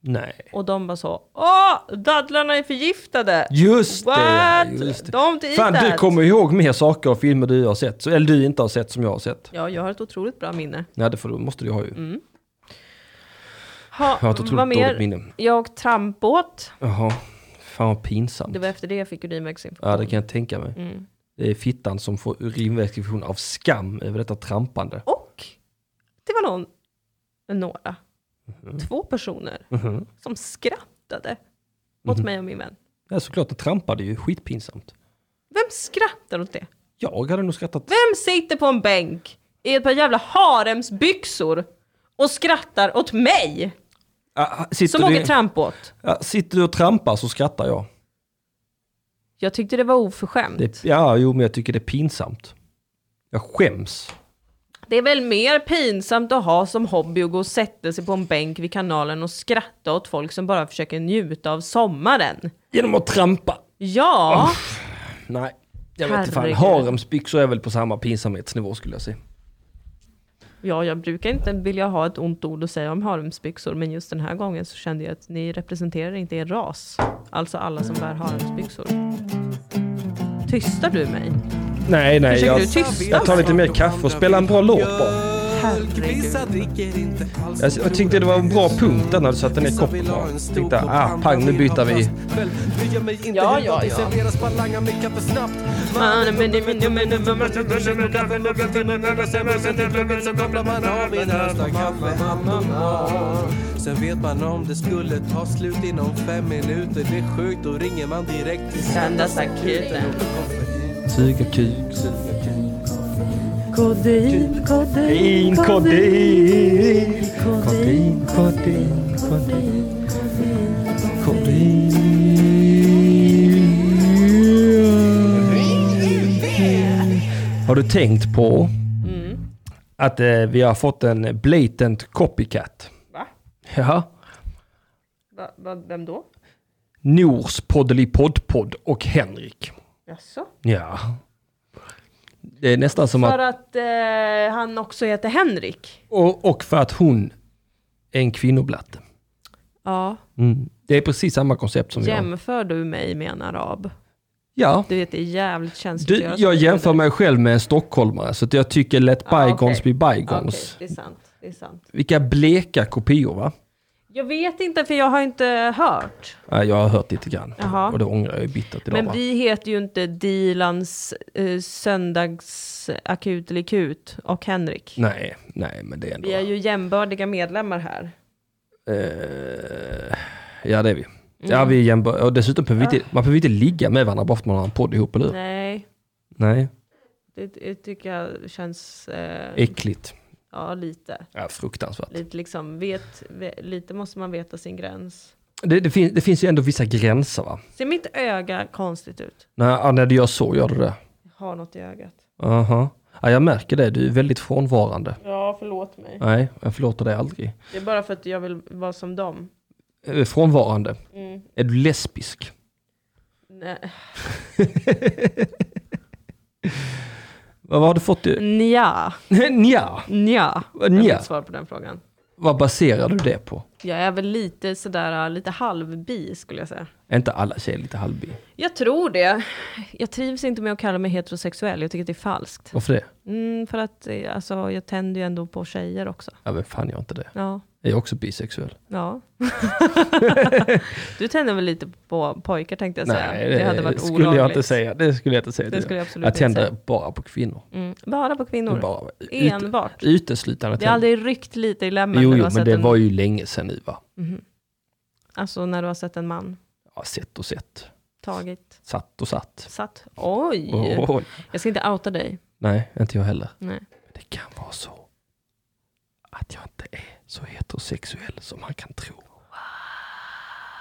Speaker 3: Nej.
Speaker 1: Och de var så Åh, dadlarna är förgiftade!
Speaker 3: Just
Speaker 1: What?
Speaker 3: det! Just det.
Speaker 1: Don't eat
Speaker 3: Fan, du
Speaker 1: that!
Speaker 3: kommer ihåg mer saker och filmer du har sett, så- eller du inte har sett som jag har sett.
Speaker 1: Ja, jag har ett otroligt bra minne.
Speaker 3: Ja, det får, du- måste du ha ju.
Speaker 1: Ha,
Speaker 3: Jag har ett
Speaker 1: Mm. vad
Speaker 3: otroligt dåligt
Speaker 1: mer?
Speaker 3: minne.
Speaker 1: Jag åkte trampbåt.
Speaker 3: Jaha, fan vad pinsamt.
Speaker 1: Det var Mm. efter det jag fick urinvägsinfektion.
Speaker 3: Ja, det kan jag tänka mig. Det är fittan som får urinvägsinfektion av skam över detta trampande.
Speaker 1: Och det var någon, några,
Speaker 3: Mm-hmm.
Speaker 1: två personer som skrattade
Speaker 3: Mm-hmm.
Speaker 1: åt mig och min vän.
Speaker 3: Ja, såklart, det trampade ju. Skitpinsamt.
Speaker 1: Vem skrattar åt det?
Speaker 3: Jag hade nog skrattat.
Speaker 1: Vem sitter på en bänk i ett par jävla haremsbyxor och skrattar åt mig
Speaker 3: Ah, sitter,
Speaker 1: som åker
Speaker 3: du,
Speaker 1: trampbåt?
Speaker 3: ja, sitter du och trampar så skrattar jag.
Speaker 1: Jag tyckte det var oförskämt.
Speaker 3: Det, ja, jo, men jag tycker det är pinsamt. Jag skäms.
Speaker 1: Det är väl mer pinsamt att ha som hobby att gå och sätta sig på en bänk vid kanalen och skratta åt folk som bara försöker njuta av sommaren.
Speaker 3: Genom att trampa.
Speaker 1: Ja,
Speaker 3: Nej, jag vet inte fan.
Speaker 1: Herregud.
Speaker 3: Haremsbyxor är väl på samma pinsamhetsnivå skulle jag säga.
Speaker 1: ja, jag brukar inte vilja ha ett ont ord att säga om haremsbyxor, men just den här gången så kände jag att ni representerar inte er ras, alltså alla som bär haremsbyxor. Tystar du mig?
Speaker 3: Nej, nej.
Speaker 1: Försöker
Speaker 3: Jag,
Speaker 1: du tysta
Speaker 3: jag tar lite mer kaffe och spelar en bra låt bara.
Speaker 1: Herregud.
Speaker 3: Jag, jag tyckte det var en bra punkt där när du satte ner koppen. bara. Jag Tänkte, ah, pang, nu byter vi.
Speaker 1: Ja, ja, ja. Ah,
Speaker 5: Sen vet man om det skulle ta slut inom fem minuter Det är sjukt, då ringer man direkt till
Speaker 1: Söndagsakuten.
Speaker 3: Suga kuk,
Speaker 6: Kodein, kodein,
Speaker 3: In kodein, kodein, kodein, kodein, kodein. Har du tänkt på att eh, vi har fått en blatant copycat?
Speaker 1: Va?
Speaker 3: Ja.
Speaker 1: Va, va, vem då?
Speaker 3: Nors poddelipoddpodd och Henrik.
Speaker 1: Jaså?
Speaker 3: Ja. Det är nästan som
Speaker 1: För
Speaker 3: att...
Speaker 1: att eh, han också heter Henrik?
Speaker 3: Och, och för att hon är en kvinnoblatte.
Speaker 1: Ja.
Speaker 3: Mm. Det är precis samma koncept som jag.
Speaker 1: Jämför du mig med en arab?
Speaker 3: Ja.
Speaker 1: Du vet, det är jävligt känsligt att
Speaker 3: Du,
Speaker 1: göra så.
Speaker 3: jag jämför mig själv med en stockholmare, så att jag tycker let
Speaker 1: Ja,
Speaker 3: bygons
Speaker 1: Ah, okej.
Speaker 3: be
Speaker 1: Ja, Okej,
Speaker 3: bygons.
Speaker 1: det är sant. Det är sant.
Speaker 3: Vilka bleka kopior va?
Speaker 1: Jag vet inte, för jag har inte hört.
Speaker 3: Ja, Jag har hört lite grann
Speaker 1: Jaha.
Speaker 3: och det ångrar jag ju bittert idag
Speaker 1: Men
Speaker 3: va?
Speaker 1: vi heter ju inte Dilans eh, söndagsakut eller kut och Henrik.
Speaker 3: Nej, nej men det är ändå...
Speaker 1: Vi är ju jämbördiga medlemmar här.
Speaker 3: Eh, ja det är vi. Ja
Speaker 1: Mm.
Speaker 3: vi är jämbör- och dessutom behöver vi inte, man behöver inte ligga med varandra bara för att man har en podd ihop, eller hur? Nej.
Speaker 1: Nej, det, det tycker jag känns... Eh,
Speaker 3: Äckligt.
Speaker 1: ja, lite.
Speaker 3: Ja, fruktansvärt.
Speaker 1: Lite, liksom, vet, ve- lite måste man veta sin gräns.
Speaker 3: det, det, finns, det finns ju ändå vissa gränser va?
Speaker 1: Ser mitt öga konstigt ut?
Speaker 3: När, ja, när du gör så, gör du det?
Speaker 1: Jag har något i ögat.
Speaker 3: Aha. Ja, jag märker det, du är väldigt frånvarande.
Speaker 1: Ja, förlåt mig.
Speaker 3: Nej, jag förlåter dig aldrig.
Speaker 1: Det är bara för att jag vill vara som dem.
Speaker 3: Eh, Frånvarande.
Speaker 1: Mm.
Speaker 3: Är du lesbisk?
Speaker 1: Nej.
Speaker 3: Vad vad har du fått i...
Speaker 1: Nja.
Speaker 3: Nja,
Speaker 1: Nja. Jag har
Speaker 3: nja.
Speaker 1: ett svar på den frågan.
Speaker 3: Vad baserar du det på?
Speaker 1: Jag är väl lite sådär, äh, lite halvbi skulle jag säga.
Speaker 3: Är inte alla tjejer lite halvbi?
Speaker 1: Jag tror det. Jag trivs inte med att kalla mig heterosexuell, jag tycker att det är falskt.
Speaker 3: Varför det?
Speaker 1: Mm, för att eh, alltså, jag tänder ju ändå på tjejer också.
Speaker 3: Ja, men fan jag är inte det.
Speaker 1: Ja,
Speaker 3: Jag är också bisexuell.
Speaker 1: ja. du tänder väl lite på pojkar tänkte jag säga.
Speaker 3: Nej,
Speaker 1: Alltså, det, hade varit
Speaker 3: skulle
Speaker 1: olagligt.
Speaker 3: jag inte säga. Det skulle jag inte säga.
Speaker 1: Det
Speaker 3: till
Speaker 1: skulle
Speaker 3: dig.
Speaker 1: jag absolut
Speaker 3: jag tänder
Speaker 1: inte
Speaker 3: bara på kvinnor.
Speaker 1: Mm. Bara på kvinnor.
Speaker 3: Bara, ut-
Speaker 1: Enbart.
Speaker 3: Uteslutande
Speaker 1: Det har aldrig ryckt lite i lämmen
Speaker 3: Jo,
Speaker 1: när du
Speaker 3: jo,
Speaker 1: har
Speaker 3: men
Speaker 1: sett
Speaker 3: det
Speaker 1: en, Mhm.
Speaker 3: var ju länge sedan nu va?
Speaker 1: alltså, när du har sett en man
Speaker 3: Ja, sett och sett.
Speaker 1: tagit,
Speaker 3: Satt och satt.
Speaker 1: satt. Oj!
Speaker 3: Oj, oj.
Speaker 1: Jag ska inte outa dig.
Speaker 3: Nej, inte jag heller.
Speaker 1: Nej.
Speaker 3: Men det kan vara så att jag inte är så heterosexuell som man kan tro.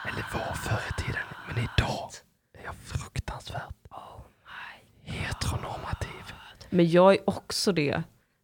Speaker 3: Eller var förr i tiden, men idag är jag fruktansvärt
Speaker 1: Oh
Speaker 3: heteronormativ.
Speaker 1: Men jag är också det.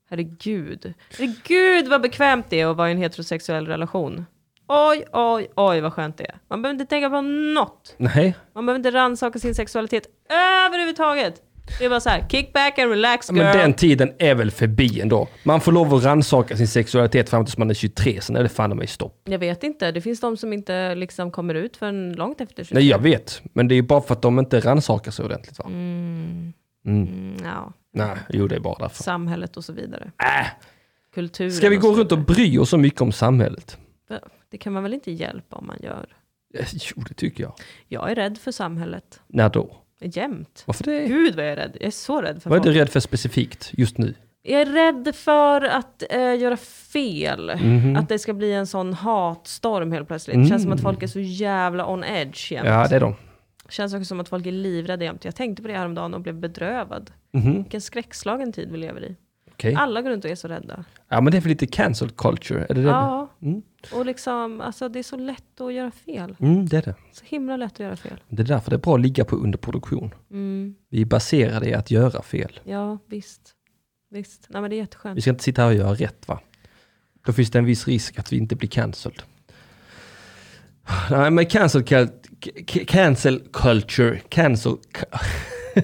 Speaker 1: Herregud. Herregud vad bekvämt det är att vara i en heterosexuell relation. Oj, oj, oj vad skönt det är. Man behöver inte tänka på något.
Speaker 3: Nej,
Speaker 1: Man behöver inte rannsaka sin sexualitet överhuvudtaget. Det är bara så här, kick back and relax girl.
Speaker 3: men den tiden är väl förbi ändå. Man får lov att rannsaka sin sexualitet fram tills man är 23, sen är det fan i mig stopp.
Speaker 1: Jag vet inte, det finns de som inte liksom kommer ut förrän långt efter 20.
Speaker 3: Nej, jag vet. Men det är ju bara för att de inte rannsakar sig ordentligt va?
Speaker 1: Mm, ja,
Speaker 3: Nej, jo det är bara därför.
Speaker 1: samhället och så vidare.
Speaker 3: Äh,
Speaker 1: Kulturen.
Speaker 3: ska vi
Speaker 1: och
Speaker 3: gå
Speaker 1: så
Speaker 3: runt och bry oss så mycket om samhället?
Speaker 1: vidare. Det kan man väl inte hjälpa om man gör.
Speaker 3: Eh, Jo, det tycker jag.
Speaker 1: Jag är rädd för samhället.
Speaker 3: När då?
Speaker 1: Jämt.
Speaker 3: Varför det?
Speaker 1: Gud vad jag är rädd. Jag är så rädd för
Speaker 3: Vad är
Speaker 1: folk.
Speaker 3: du rädd för specifikt just nu?
Speaker 1: Jag är rädd för att eh, göra fel.
Speaker 3: Mhm.
Speaker 1: Att det ska bli en sån hatstorm helt plötsligt. Känns som att folk är så jävla on edge jämt.
Speaker 3: Mm. Ja, det är de.
Speaker 1: Känns också som att folk är livrädda jämt. Jag tänkte på det häromdagen och blev bedrövad. Vilken skräckslagen tid vi lever i.
Speaker 3: Mhm. Okej.
Speaker 1: Alla går runt och är så rädda.
Speaker 3: Ja, men det är Mm. väl lite cancel culture? Är det det?
Speaker 1: Ja. Och liksom, alltså det är så lätt att göra fel.
Speaker 3: Mm, det är det.
Speaker 1: Så himla lätt att göra fel.
Speaker 3: Det är därför det är bra att ligga på underproduktion.
Speaker 1: Mm.
Speaker 3: Vi är baserade i att göra fel.
Speaker 1: Ja, visst. Visst. Nej men det är
Speaker 3: Vi
Speaker 1: jätteskönt.
Speaker 3: ska inte sitta här och göra rätt va? Då finns det en viss risk att vi inte blir cancelled. Nej men cancel, cul- c- cancel culture, cancel,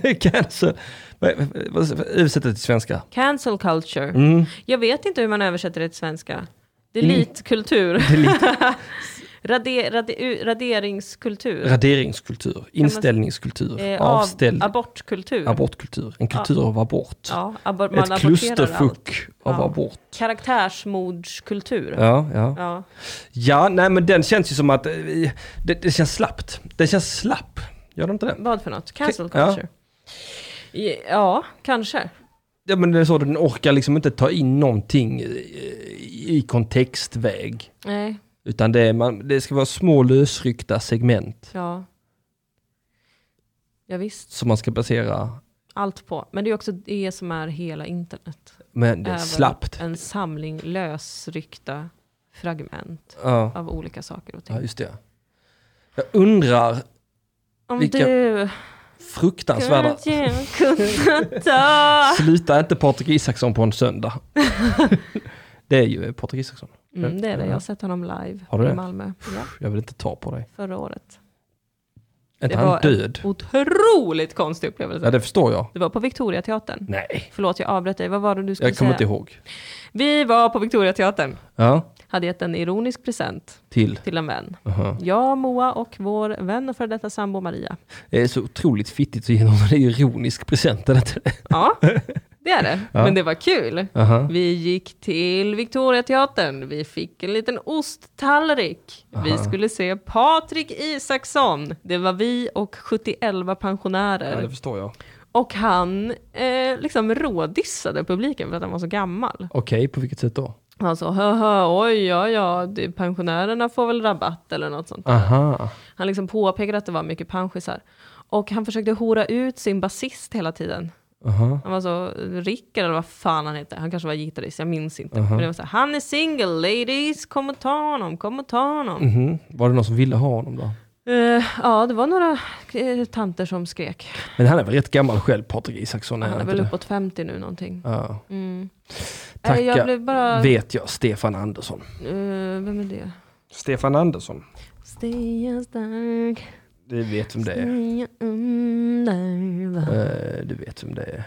Speaker 3: cancel, vad- vad- vad- översätt det till svenska.
Speaker 1: Cancel culture.
Speaker 3: Mm.
Speaker 1: Jag vet inte hur man översätter det till svenska. Delete-kultur. Rade, rade, u- raderingskultur.
Speaker 3: Raderingskultur, inställningskultur,
Speaker 1: Eh, av-
Speaker 3: avställ,
Speaker 1: Abortkultur.
Speaker 3: abortkultur, en kultur av abort.
Speaker 1: ja, abor- man
Speaker 3: Ett
Speaker 1: aborterar allt.
Speaker 3: klusterfuck av
Speaker 1: Ja.
Speaker 3: abort.
Speaker 1: Karaktärsmordskultur. Ja.
Speaker 3: Ja, ja. ja, nej men den känns ju som att eh, det, det känns slappt. Den känns slapp. Gör det inte det?
Speaker 1: Vad för något? Cancel
Speaker 3: Ja.
Speaker 1: culture. Ja, ja kanske.
Speaker 3: Ja men det är så, den orkar liksom inte ta in någonting eh, i kontextväg.
Speaker 1: Nej,
Speaker 3: Utan det, är, man, det ska vara små lösryckta segment
Speaker 1: ja. Ja, visst,
Speaker 3: som man ska basera,
Speaker 1: allt på. Men det är också det som är hela internet.
Speaker 3: men det är
Speaker 1: Även
Speaker 3: slappt.
Speaker 1: En samling lösryckta fragment
Speaker 3: Ja,
Speaker 1: av olika saker och ting.
Speaker 3: ja, just det. Jag undrar,
Speaker 1: Om
Speaker 3: Vilka
Speaker 1: du
Speaker 3: fruktansvärda,
Speaker 1: kunde kunna ta...
Speaker 3: sluta inte Patrik Isaksson på en söndag. det är ju Patrik Isaksson.
Speaker 1: Mm, det är det, jag har sett honom live
Speaker 3: Har du det?
Speaker 1: i Malmö. Ja,
Speaker 3: Jag vill inte ta på dig.
Speaker 1: förra året.
Speaker 3: Är inte
Speaker 1: Det var
Speaker 3: han
Speaker 1: en-
Speaker 3: död?
Speaker 1: Otroligt konstig
Speaker 3: Ja
Speaker 1: upplevelse.
Speaker 3: det förstår jag.
Speaker 1: Det var på Victoriateatern.
Speaker 3: Nej,
Speaker 1: Förlåt, jag avbröt dig. Vad var det du skulle
Speaker 3: jag kommer
Speaker 1: säga?
Speaker 3: inte ihåg.
Speaker 1: Vi var på Victoriateatern.
Speaker 3: Ja,
Speaker 1: Hade gett en ironisk present
Speaker 3: till.
Speaker 1: till en vän.
Speaker 3: Aha.
Speaker 1: Jag, Moa och vår vän och före detta sambo Maria.
Speaker 3: Det är så otroligt fittigt att ge någon en ironisk present. är det inte det?
Speaker 1: Ja, det är det. Men det var kul.
Speaker 3: Aha.
Speaker 1: Vi gick till Victoriateatern. Vi fick en liten osttallrik. Vi skulle se Patrik Isaksson. Det var vi och 71
Speaker 3: Ja,
Speaker 1: pensionärer.
Speaker 3: det förstår jag.
Speaker 1: Och han eh, liksom rådissade publiken för att han var så gammal.
Speaker 3: Okej, på vilket sätt då?
Speaker 1: Han sa höhö, oj, ja, ja, det- pensionärerna får väl rabatt eller något sånt.
Speaker 3: Aha.
Speaker 1: Han liksom påpekade att det var mycket panschisar. Och han försökte hora ut sin basist hela tiden.
Speaker 3: Aha.
Speaker 1: Han var så, Rickard eller vad fan han hette, han kanske var gitarrist, jag minns inte. Men det var så här, han är single ladies, kom och ta honom, kom och ta honom.
Speaker 3: Mhm. Var det någon som ville ha honom då?
Speaker 1: Eh, ja, det var några eh, tanter som skrek.
Speaker 3: Men han är väl rätt gammal själv, Patrik Isaksson?
Speaker 1: Han är
Speaker 3: inte
Speaker 1: väl
Speaker 3: det?
Speaker 1: uppåt 50 nu någonting.
Speaker 3: Ja.
Speaker 1: Mm.
Speaker 3: Tacka,
Speaker 1: Eh, Jag blev bara...
Speaker 3: vet jag, Stefan Andersson.
Speaker 1: Eh, vem är det?
Speaker 3: Stefan Andersson?
Speaker 1: Stay stark,
Speaker 3: Du vet vem det är.
Speaker 1: stay under.
Speaker 3: Eh, du vet vem det är.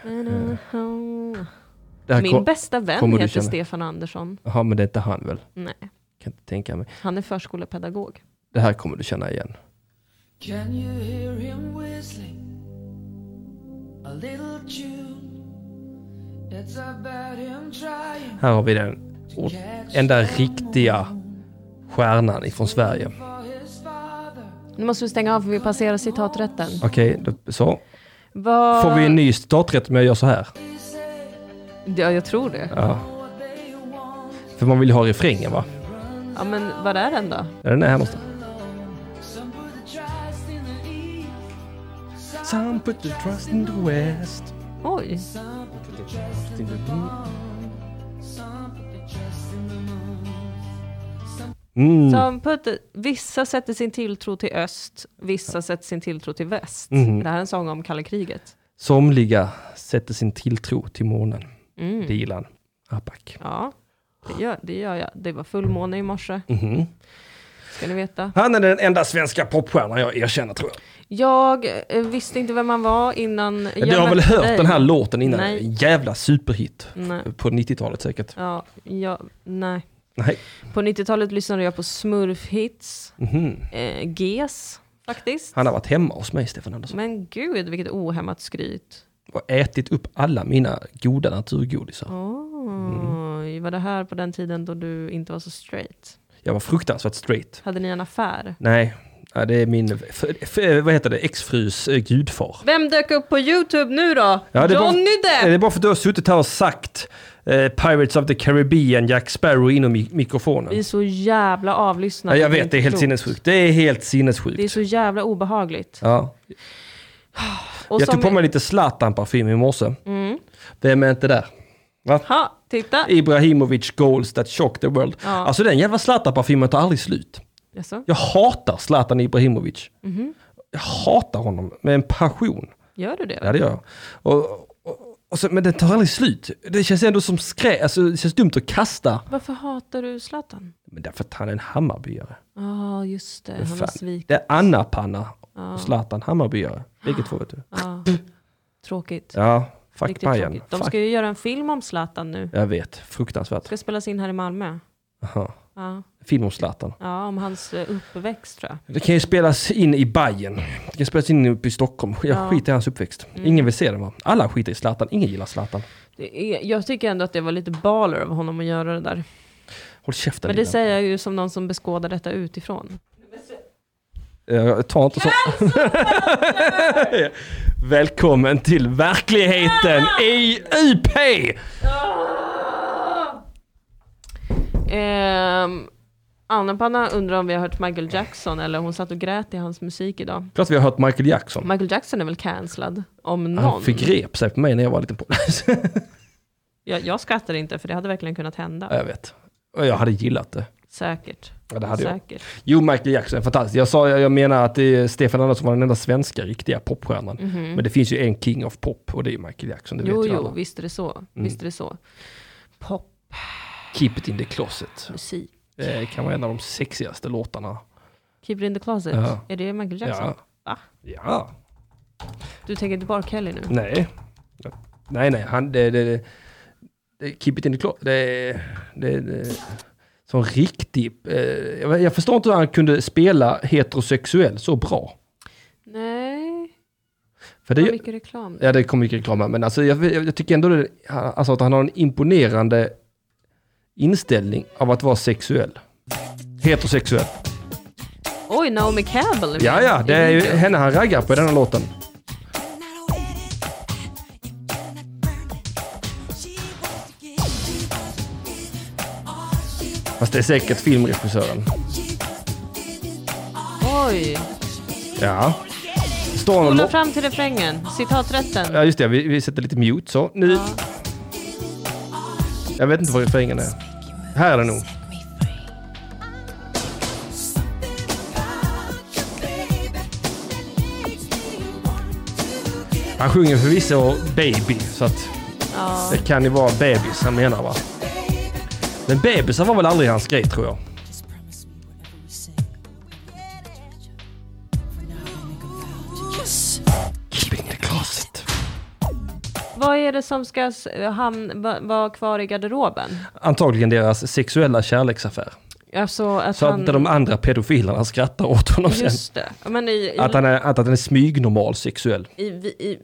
Speaker 3: Det
Speaker 1: Min
Speaker 3: kom-
Speaker 1: bästa vän
Speaker 3: Eh. kommer du
Speaker 1: heter
Speaker 3: känna.
Speaker 1: Stefan Andersson.
Speaker 3: Jaha, men det är inte han väl?
Speaker 1: Nej,
Speaker 3: Kan inte tänka mig.
Speaker 1: han är förskolepedagog.
Speaker 3: Det här kommer du känna igen.
Speaker 6: Can you hear him whistling a little tune? It's about him trying
Speaker 3: Här har vi den
Speaker 6: to
Speaker 3: o-
Speaker 6: catch
Speaker 3: enda
Speaker 6: the
Speaker 3: riktiga
Speaker 6: moon
Speaker 3: stjärnan ifrån Sverige.
Speaker 6: for his father.
Speaker 1: Nu måste vi stänga av för vi passerar citaträtten.
Speaker 3: Okej, då- så.
Speaker 1: Vad...
Speaker 3: Får vi en ny starträtt om jag gör så här?
Speaker 6: They say
Speaker 1: Ja, jag tror det.
Speaker 3: Ja.
Speaker 6: what they want.
Speaker 3: För man vill ju ha refrängen va?
Speaker 1: Ja, men var är den då?
Speaker 3: Är den här någonstans?
Speaker 6: Some put the trust in the east,
Speaker 3: Some put the trust in the west.
Speaker 1: Oj,
Speaker 3: Mm.
Speaker 6: some put the trust in the bone, some put the trust in the moon.
Speaker 3: Mm.
Speaker 1: som put, vissa sätter sin tilltro till öst, vissa sätter sin tilltro till väst.
Speaker 3: Mhm.
Speaker 1: Det här är en sång om kalla kriget.
Speaker 3: Somliga sätter sin tilltro till månen.
Speaker 1: Mm.
Speaker 3: Det gillar han. Apak.
Speaker 1: Ja, det gör, det gör jag. Det var fullmåne i morse,
Speaker 3: Mhm.
Speaker 1: ska ni veta.
Speaker 3: Han är den enda svenska popstjärnan jag erkänner tror jag.
Speaker 1: Jag eh, visste inte vem man var innan... Jag
Speaker 3: du har väl
Speaker 1: mötte
Speaker 3: hört
Speaker 1: dig.
Speaker 3: den här låten innan?
Speaker 1: Nej.
Speaker 3: En Jävla superhit.
Speaker 1: Nej.
Speaker 3: På 90-talet säkert.
Speaker 1: Ja, jag, nej.
Speaker 3: Nej.
Speaker 1: På 90-talet lyssnade jag på Smurfhits,
Speaker 3: Mhm.
Speaker 1: eh, GES faktiskt.
Speaker 3: Han har varit hemma hos mig, Stefan Andersson.
Speaker 1: Men gud, vilket ohämmat skryt.
Speaker 3: Och ätit upp alla mina goda naturgodisar.
Speaker 1: Oj, var det här på den tiden då du inte var så straight?
Speaker 3: Jag var fruktansvärt straight.
Speaker 1: Hade ni en affär?
Speaker 3: Nej, ja, det är min, f- f- vad heter det, exfrus eh, gudfar.
Speaker 1: Vem dök upp på YouTube nu då?
Speaker 3: Ja, det är
Speaker 1: Johnny
Speaker 3: bara, Det
Speaker 1: Depp!
Speaker 3: är bara för att du har suttit här och sagt eh, Pirates of the Caribbean, Jack Sparrow inom mi- mikrofonen.
Speaker 1: Vi är så jävla
Speaker 3: Ja,
Speaker 1: avlyssnade.
Speaker 3: jag vet,
Speaker 1: inte
Speaker 3: det är helt
Speaker 1: klokt.
Speaker 3: sinnessjukt. Det är helt sinnessjukt.
Speaker 1: Det är så jävla obehagligt.
Speaker 3: ja.
Speaker 1: Och
Speaker 3: Jag
Speaker 1: som- Mm.
Speaker 3: tog på mig lite Zlatan-parfym i morse. Vem är inte där? Va?
Speaker 1: Ha, titta!
Speaker 3: Ibrahimovic goals that shock the world.
Speaker 1: Ja.
Speaker 3: Alltså den jävla Zlatan-parfymen tar aldrig slut.
Speaker 1: Jaså?
Speaker 3: Jag hatar Zlatan Ibrahimovic.
Speaker 1: Mhm.
Speaker 3: Jag hatar honom med en passion.
Speaker 1: Gör du det?
Speaker 3: Ja, det gör jag. Och, och, och så, men det tar aldrig slut. Det känns ändå som skrä... Alltså, det känns dumt att kasta.
Speaker 1: Varför hatar du Zlatan?
Speaker 3: Men därför att han är en Hammarbyare.
Speaker 1: Ja, just det. Han har
Speaker 3: Fan.
Speaker 1: svikit.
Speaker 3: Det är Anna-Panna och Zlatan Hammarbyare. Vilket får du?
Speaker 1: Ja. Tråkigt.
Speaker 3: Ja, fuck
Speaker 1: Riktigt
Speaker 3: Bajen.
Speaker 1: tråkigt. De
Speaker 3: Fuck.
Speaker 1: ska ju göra en film om Zlatan nu.
Speaker 3: Jag vet, fruktansvärt.
Speaker 1: Ska spelas in här i Malmö.
Speaker 3: Aha.
Speaker 1: Ja,
Speaker 3: Film om Zlatan.
Speaker 1: ja om hans eh, uppväxt tror jag.
Speaker 3: Det kan ju spelas in i Bajen. Det kan spelas in uppe i Stockholm. Jag
Speaker 1: Ja. Mm.
Speaker 3: skiter i hans uppväxt. Ingen vill se den va? Alla skiter i Zlatan. Ingen gillar Zlatan.
Speaker 1: Det är, jag tycker ändå att det var lite baller av honom att göra det där.
Speaker 3: Håll käften
Speaker 1: Men det
Speaker 3: Lina.
Speaker 1: säger jag ju som någon som beskådar detta utifrån.
Speaker 3: Jag tar Eh, inte så. Välkommen till verkligheten i UP!
Speaker 1: Ehm, Anna-Panna undrar om vi har hört Michael Jackson eller hon satt och grät i hans musik idag.
Speaker 3: Klart vi har hört Michael Jackson.
Speaker 1: Michael Jackson är väl cancellad? Om någon.
Speaker 3: Han förgrep sig på mig när jag var liten på
Speaker 1: Jag, jag skrattar inte för det hade verkligen kunnat
Speaker 3: Ja,
Speaker 1: hända.
Speaker 3: jag vet. Och jag hade gillat det.
Speaker 1: Säkert.
Speaker 3: Ja, det hade jag.
Speaker 1: Säkert.
Speaker 3: Jo, Michael Jackson är fantastisk. Jag, sa, jag jag menar att det är Stefan Andersson var den enda svenska riktiga popstjärnan. Men det finns ju en king of pop och det är Michael Jackson. Det
Speaker 1: Mhm. Jo,
Speaker 3: vet ju
Speaker 1: jo,
Speaker 3: alla. Mm.
Speaker 1: visst är det så. Visst är det så. Popmusik.
Speaker 3: Keep it in the closet. Det kan vara en av de sexigaste låtarna.
Speaker 1: Keep it in the closet.
Speaker 3: Ja.
Speaker 1: Är det Michael Jackson?
Speaker 3: Ja.
Speaker 1: Va?
Speaker 3: Ja.
Speaker 1: Du tänker inte bara Kelly nu?
Speaker 3: Nej. Nej, nej. Han, det, det, det, det, keep it in the closet. Det, det, det, som riktig... Eh, jag, jag förstår inte hur han kunde spela heterosexuell så bra.
Speaker 1: Nej,
Speaker 3: För
Speaker 1: det var
Speaker 3: det,
Speaker 1: mycket reklam.
Speaker 3: ja, det kom mycket reklam här, men alltså, jag, jag, jag tycker ändå det, alltså, att han har en imponerande inställning av att vara sexuell. Heterosexuell.
Speaker 1: Oj, Naomi Campbell är med.
Speaker 3: Ja, ja, det är ju
Speaker 1: videon.
Speaker 3: henne han raggar på i denna låten. Fast det är säkert filmregissören.
Speaker 1: Oj,
Speaker 3: Ja. Står han
Speaker 1: Spola
Speaker 3: och
Speaker 1: fram till refrängen, citaträtten.
Speaker 3: Ja just det, vi, vi sätter lite mute så. Nu. Jag vet inte vad refrängen är. Här är det nog. Han sjunger förvisso baby, så att det kan ju vara bebis han menar va. Men bebisar var väl aldrig hans grej tror jag. Keep in the closet.
Speaker 1: Vad är det som ska s- hamn, va, vara kvar i garderoben?
Speaker 3: Antagligen deras sexuella kärleksaffär.
Speaker 1: Alltså att
Speaker 3: Så att
Speaker 1: han...
Speaker 3: inte de andra pedofilerna skrattar åt honom sen.
Speaker 1: Just det. Ja, Men i, i,
Speaker 3: Att han är, att han är smygnormal sexuell.
Speaker 1: i, i,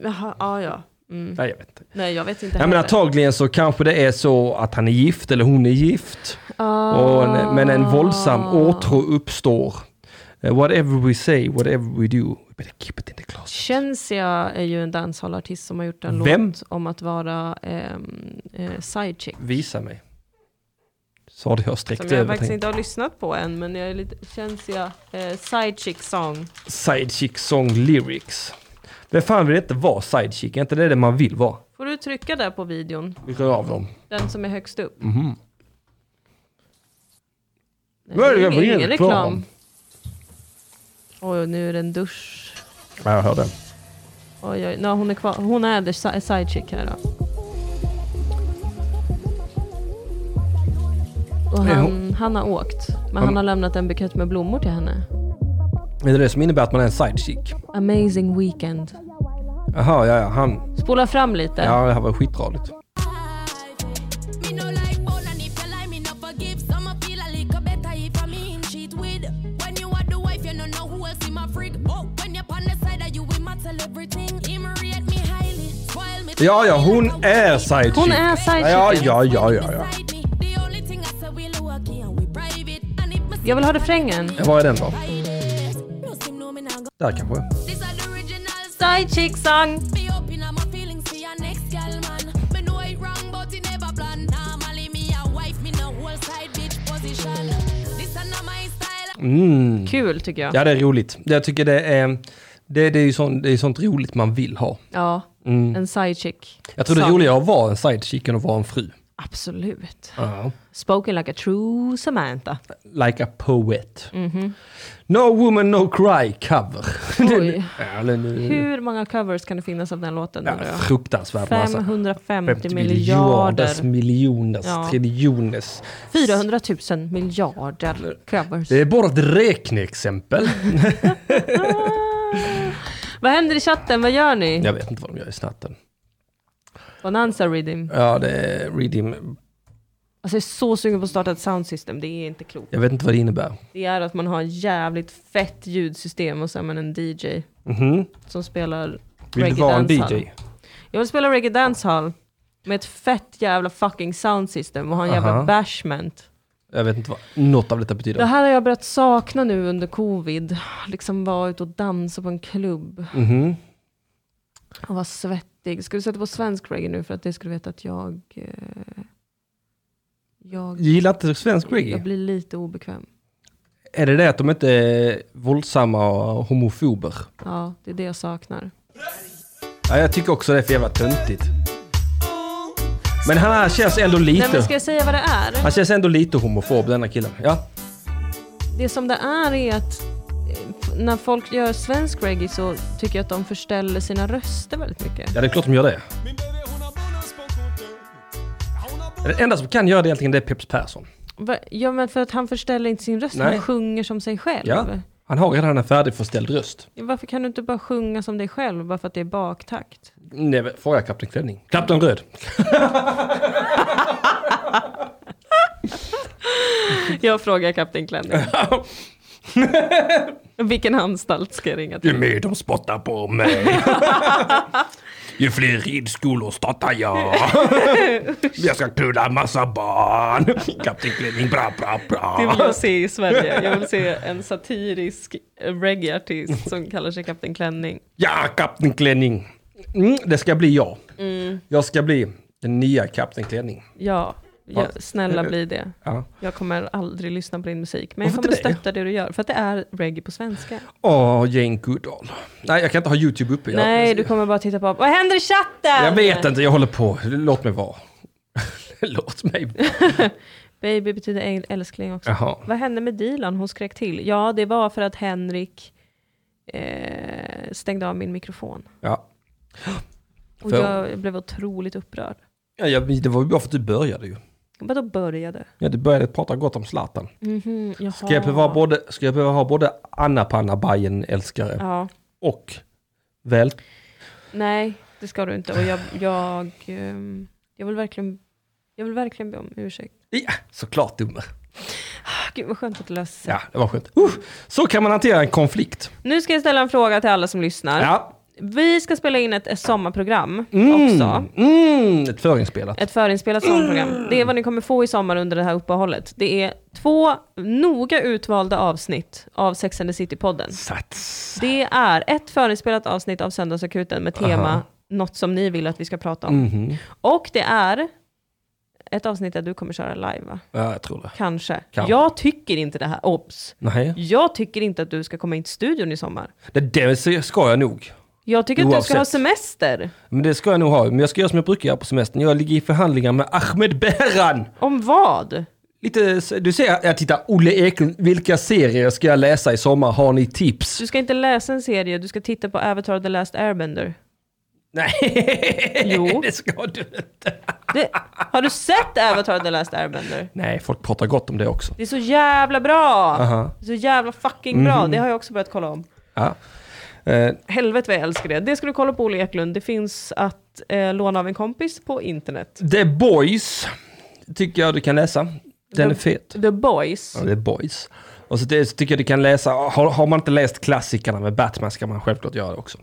Speaker 1: i aha, ja, ja. Mm.
Speaker 3: Nej, jag vet inte.
Speaker 1: Nej, jag vet inte
Speaker 3: Nej, men antagligen så kanske det är så att han är gift eller hon är gift.
Speaker 1: Ah.
Speaker 3: Och en, men en våldsam åtrå uppstår. Eh, Whatever we say, whatever we do, we better keep it in the closet.
Speaker 1: Shensia är ju en danshallartist som har gjort en
Speaker 3: Vem?
Speaker 1: låt om att vara ehm, eh, sidechick.
Speaker 3: Visa mig. Så det jag
Speaker 1: Som
Speaker 3: sträckt
Speaker 1: jag
Speaker 3: över.
Speaker 1: faktiskt
Speaker 3: tänkt.
Speaker 1: inte har lyssnat på än, men jag är lite... Shensia, eh, sidechick song.
Speaker 3: Side chick song lyrics. Vem fan vill inte vara side chick? Är inte det det man vill vara?
Speaker 1: Får du trycka där på videon?
Speaker 3: Vilken av dem? Mhm.
Speaker 1: Den som är högst upp? Nej,
Speaker 3: Vad är det
Speaker 1: det är
Speaker 3: för
Speaker 1: ingen, ingen
Speaker 3: reklam?
Speaker 1: reklam. Oj, nu är det en dusch.
Speaker 3: Ja, jag hörde.
Speaker 1: Oj, oj. No, hon är kvar. Hon är the si- side chick här då. Och
Speaker 3: Är
Speaker 1: han,
Speaker 3: hon-
Speaker 1: han har åkt. Men han har lämnat en bukett med blommor till henne.
Speaker 3: Är det det som innebär att man är en side chick?
Speaker 1: Amazing weekend.
Speaker 3: Jaha, ja, ja, han.
Speaker 1: Spola fram lite.
Speaker 3: Ja, det här var skitradigt.
Speaker 7: Me no like bone and if you lie, me no forgive. Some a feel a little better if I mean cheat with. When you are the wife, you don't know who else in my freak. Oh, when you're on the side, that you will matter everything. Him rate me highly, spoil me.
Speaker 3: Ja, ja, hon är side
Speaker 1: Hon
Speaker 3: chick.
Speaker 1: är side
Speaker 3: Ja,
Speaker 1: chicken.
Speaker 3: ja, ja, ja, ja.
Speaker 7: Beside me. The only thing I say we lucky and we private. And if me
Speaker 1: Jag vill ha refrängen.
Speaker 3: Ja, Var är den då?
Speaker 7: see this, no seem no me now go.
Speaker 3: Där kanske.
Speaker 7: These are the original
Speaker 1: Side chick song.
Speaker 7: me up in my feelings for your next gal man. Me know it wrong, but it never plan. Normally me a wife, me no whole side bitch position. This a not my style.
Speaker 3: Mm.
Speaker 1: Kul tycker jag.
Speaker 3: Ja, det är roligt. Jag tycker det är, det, det är ju sånt, det är sånt roligt man vill ha.
Speaker 1: Ja,
Speaker 3: Mm.
Speaker 1: en side chick.
Speaker 3: Jag tror det är
Speaker 1: song.
Speaker 3: roligare att vara en side chick än att vara en fru.
Speaker 1: Absolut. Spoken like a true Samantha.
Speaker 3: Like a poet.
Speaker 1: Mhm.
Speaker 3: No woman, no cry cover.
Speaker 1: Oj.
Speaker 3: ja, den är
Speaker 1: Hur många covers kan det finnas av den låten?
Speaker 3: ja,
Speaker 1: undrar jag?
Speaker 3: fruktansvärd massa.
Speaker 1: 550
Speaker 3: miljarders,
Speaker 1: miljarder.
Speaker 3: miljoners,
Speaker 1: Ja.
Speaker 3: triljoners.
Speaker 1: 400 000 miljarder covers.
Speaker 3: Det är bara ett räkneexempel.
Speaker 1: Vad händer i chatten? Vad gör ni?
Speaker 3: Jag vet inte vad de gör i snatten.
Speaker 1: Bonanza Redeem.
Speaker 3: Ja, det är redeem.
Speaker 1: Alltså jag är så sugen på att starta ett soundsystem. Det är inte klokt.
Speaker 3: Jag vet inte vad det innebär.
Speaker 1: Det är att man har ett jävligt fett ljudsystem och så är man en DJ
Speaker 3: Mhm.
Speaker 1: som spelar
Speaker 3: Vill du
Speaker 1: reggae
Speaker 3: vara en
Speaker 1: dancehall.
Speaker 3: DJ?
Speaker 1: Jag vill spela reggae dancehall med ett fett jävla fucking soundsystem och ha en jävla
Speaker 3: Aha.
Speaker 1: bashment.
Speaker 3: Jag vet inte vad något av detta betyder.
Speaker 1: Det här har jag börjat sakna nu under covid. Liksom vara ute och dansa på en klubb
Speaker 3: Mhm.
Speaker 1: och vara svettig. Ska du sätta på svensk reggae nu för att det skulle veta att jag... eh, Jag,
Speaker 3: Gillar inte svensk
Speaker 1: jag
Speaker 3: reggae?
Speaker 1: blir lite obekväm.
Speaker 3: Är det det att de inte är våldsamma och homofober?
Speaker 1: Ja, det är det jag saknar.
Speaker 3: Ja, jag tycker också det är för jävla töntigt. Men han känns ändå
Speaker 1: Nej men
Speaker 3: lite...
Speaker 1: ska jag säga vad det är?
Speaker 3: Han känns ändå lite homofob denna killen. Ja.
Speaker 1: Det som det är är att eh, f- när folk gör svensk reggae så tycker jag att de förställer sina röster väldigt mycket.
Speaker 3: ja, det är klart de gör det. Den enda som kan göra det egentligen det är Peps Persson.
Speaker 1: Va- Ja men för att han förställer inte sin röst,
Speaker 3: Nej.
Speaker 1: han sjunger som sig själv.
Speaker 3: Ja. Han har redan en färdigförställd röst.
Speaker 1: Varför kan du inte bara sjunga som dig själv bara för att det är baktakt?
Speaker 3: Nej, men fråga Kapten Klänning. Kapten Röd.
Speaker 1: Jag frågar Kapten Klänning. Vilken anstalt ska jag ringa till?
Speaker 3: med de spottar på mig. Ju fler ridskolor startar jag. Jag ska knulla massa barn. Kapten Klänning, bra, bra,
Speaker 1: Det vill
Speaker 3: bra.
Speaker 1: jag se i Sverige. Jag vill se en satirisk reggaeartist som kallar sig Kapten Klänning.
Speaker 3: Ja, Kapten Klänning.
Speaker 1: Mm.
Speaker 3: Mm, det ska bli jag. Jag ska bli den nya Kapten Klänning.
Speaker 1: Ja, Ja,
Speaker 3: Ja.
Speaker 1: snälla bli det.
Speaker 3: Ja.
Speaker 1: Jag kommer aldrig lyssna på din musik, men jag
Speaker 3: Varför
Speaker 1: kommer
Speaker 3: inte det?
Speaker 1: stötta det du gör. För att det är reggae på svenska.
Speaker 3: Åh, Jane Goodall. Nej, jag kan inte ha YouTube uppe. Jag-
Speaker 1: Nej, du kommer bara titta på, vad händer i chatten?
Speaker 3: Jag vet inte, jag håller på. Låt mig vara. Låt mig.
Speaker 1: Baby betyder äng- älskling också.
Speaker 3: Jaha.
Speaker 1: Vad hände med Dilan? Hon skrek till. Ja, det var för att Henrik eh, stängde av min mikrofon.
Speaker 3: Ja.
Speaker 1: Och
Speaker 3: För-
Speaker 1: jag blev otroligt upprörd.
Speaker 3: Ja, jag, det var ju bara för att du började ju.
Speaker 1: Vadå började?
Speaker 3: Ja, du började prata gott om Zlatan.
Speaker 1: Mhm, jaha.
Speaker 3: Ska jag behöva, ha både, ska jag behöva ha både Anna Panna Bajen älskare
Speaker 1: Ja.
Speaker 3: och väl...
Speaker 1: Nej, det ska du inte. Och jag, jag, ehm, jag, vill, verkligen, jag vill verkligen be om ursäkt.
Speaker 3: Ja, såklart dumme.
Speaker 1: Ah, Gud vad skönt att det löste sig.
Speaker 3: Ja, det var skönt. Uh, så kan man hantera en konflikt.
Speaker 1: Nu ska jag ställa en fråga till alla som lyssnar.
Speaker 3: Ja.
Speaker 1: Vi ska spela in ett sommarprogram också.
Speaker 3: Mm, mm, ett förinspelat.
Speaker 1: Ett förinspelat sommarprogram.
Speaker 3: Mm.
Speaker 1: Det är vad ni kommer få i sommar under det här uppehållet. Det är två noga utvalda avsnitt av Sex and the City-podden.
Speaker 3: Sats.
Speaker 1: Det är ett förinspelat avsnitt av Söndagsakuten med tema
Speaker 3: Aha.
Speaker 1: något som ni vill att vi ska prata om.
Speaker 3: Mhm.
Speaker 1: Och det är ett avsnitt där du kommer köra live va?
Speaker 3: Ja, jag tror det.
Speaker 1: Kanske.
Speaker 3: Kanske.
Speaker 1: Jag tycker inte det här. Obs!
Speaker 3: Nej,
Speaker 1: Jag tycker inte att du ska komma in till studion i sommar.
Speaker 3: det, det ska jag nog.
Speaker 1: Jag tycker att du ska
Speaker 3: Oavsett.
Speaker 1: ha semester.
Speaker 3: Men det ska jag nog ha. Men jag ska göra som jag brukar göra på semestern. Jag ligger i förhandlingar med Ahmed Behran.
Speaker 1: Om vad?
Speaker 3: Lite, du ser, jag tittar, Olle Eklund, vilka serier ska jag läsa i sommar? Har ni tips?
Speaker 1: Du ska inte läsa en serie, du ska titta på Avatar The Last Airbender.
Speaker 3: Nej,
Speaker 1: Jo.
Speaker 3: det ska du inte.
Speaker 1: Det, har du sett Avatar The Last Airbender?
Speaker 3: Nej, folk pratar gott om det också.
Speaker 1: Det är så jävla bra!
Speaker 3: Aha. Mhm.
Speaker 1: Så jävla fucking bra, det har jag också börjat kolla om.
Speaker 3: Ja. Eh,
Speaker 1: Helvete vad jag älskar det. Det ska du kolla på Olle Eklund, det finns att eh, låna av en kompis på internet.
Speaker 3: The Boys tycker jag du kan läsa. Den är fet.
Speaker 1: The Boys.
Speaker 3: Ja, The Boys. Och så det, så tycker jag du kan läsa, har, har man inte läst klassikerna med Batman ska man självklart göra det också.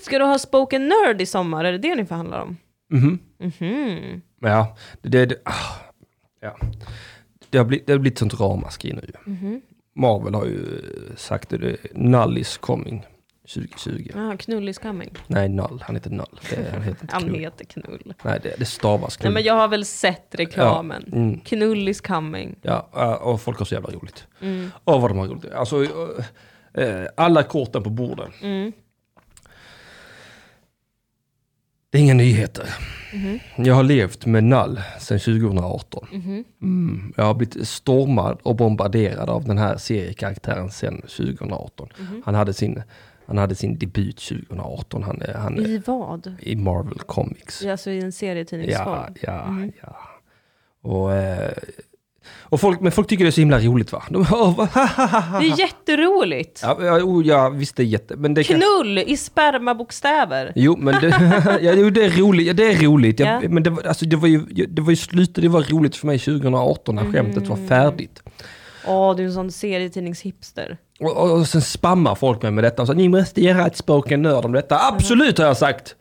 Speaker 1: Ska du ha Spoken Nerd i sommar? Är det det ni förhandlar om? Mhm.
Speaker 3: Men Mhm. ja, det, det, det, ah, ja. det, har, blivit, det har blivit sånt ramaskri nu.
Speaker 1: Mhm.
Speaker 3: Marvel har ju eh, sagt det, det Null is coming 2020.
Speaker 1: Jaha, Knull is coming.
Speaker 3: Nej, Null. Han heter Null. Det, han heter inte
Speaker 1: Han
Speaker 3: Knull.
Speaker 1: heter Knull.
Speaker 3: Nej, det, det stavas Knull.
Speaker 1: Nej men jag har väl sett reklamen.
Speaker 3: Ja, mm.
Speaker 1: Knull is coming.
Speaker 3: Ja, eh, och folk har så jävla roligt. Åh, vad de har roligt. Alltså, eh, eh, alla korten på borden. Det är inga nyheter. Jag har levt med Null sedan 2018. Mm. Jag har blivit stormad och bombarderad av den här seriekaraktären sedan 2018. Han, hade sin, han hade sin debut 2018 han, eh, han,
Speaker 1: I vad?
Speaker 3: i Marvel Comics.
Speaker 1: Alltså i en
Speaker 3: Ja,
Speaker 1: serietidningsform?
Speaker 3: ja, ja. Och, eh, och folk, men folk tycker det är så himla roligt va? De, oh, va? ha, ha, ha, ha.
Speaker 1: Det är jätteroligt!
Speaker 3: Ja, ja, oh, ja, visst det är jätte... Men det kan,
Speaker 1: Knull i spermabokstäver!
Speaker 3: jo, men det, ja, jo, det är roligt. Ja, det är roligt. Jag,
Speaker 1: Ja.
Speaker 3: Men det, var- alltså, det var ju, det var ju slutet, det var roligt för mig 2018 när
Speaker 1: Mm.
Speaker 3: skämtet var färdigt.
Speaker 1: Åh, du är en sån serietidningshipster.
Speaker 3: Och, och, och sen spammar folk mig med detta och så ni måste göra ett spoken nörd om detta. Absolut har jag sagt!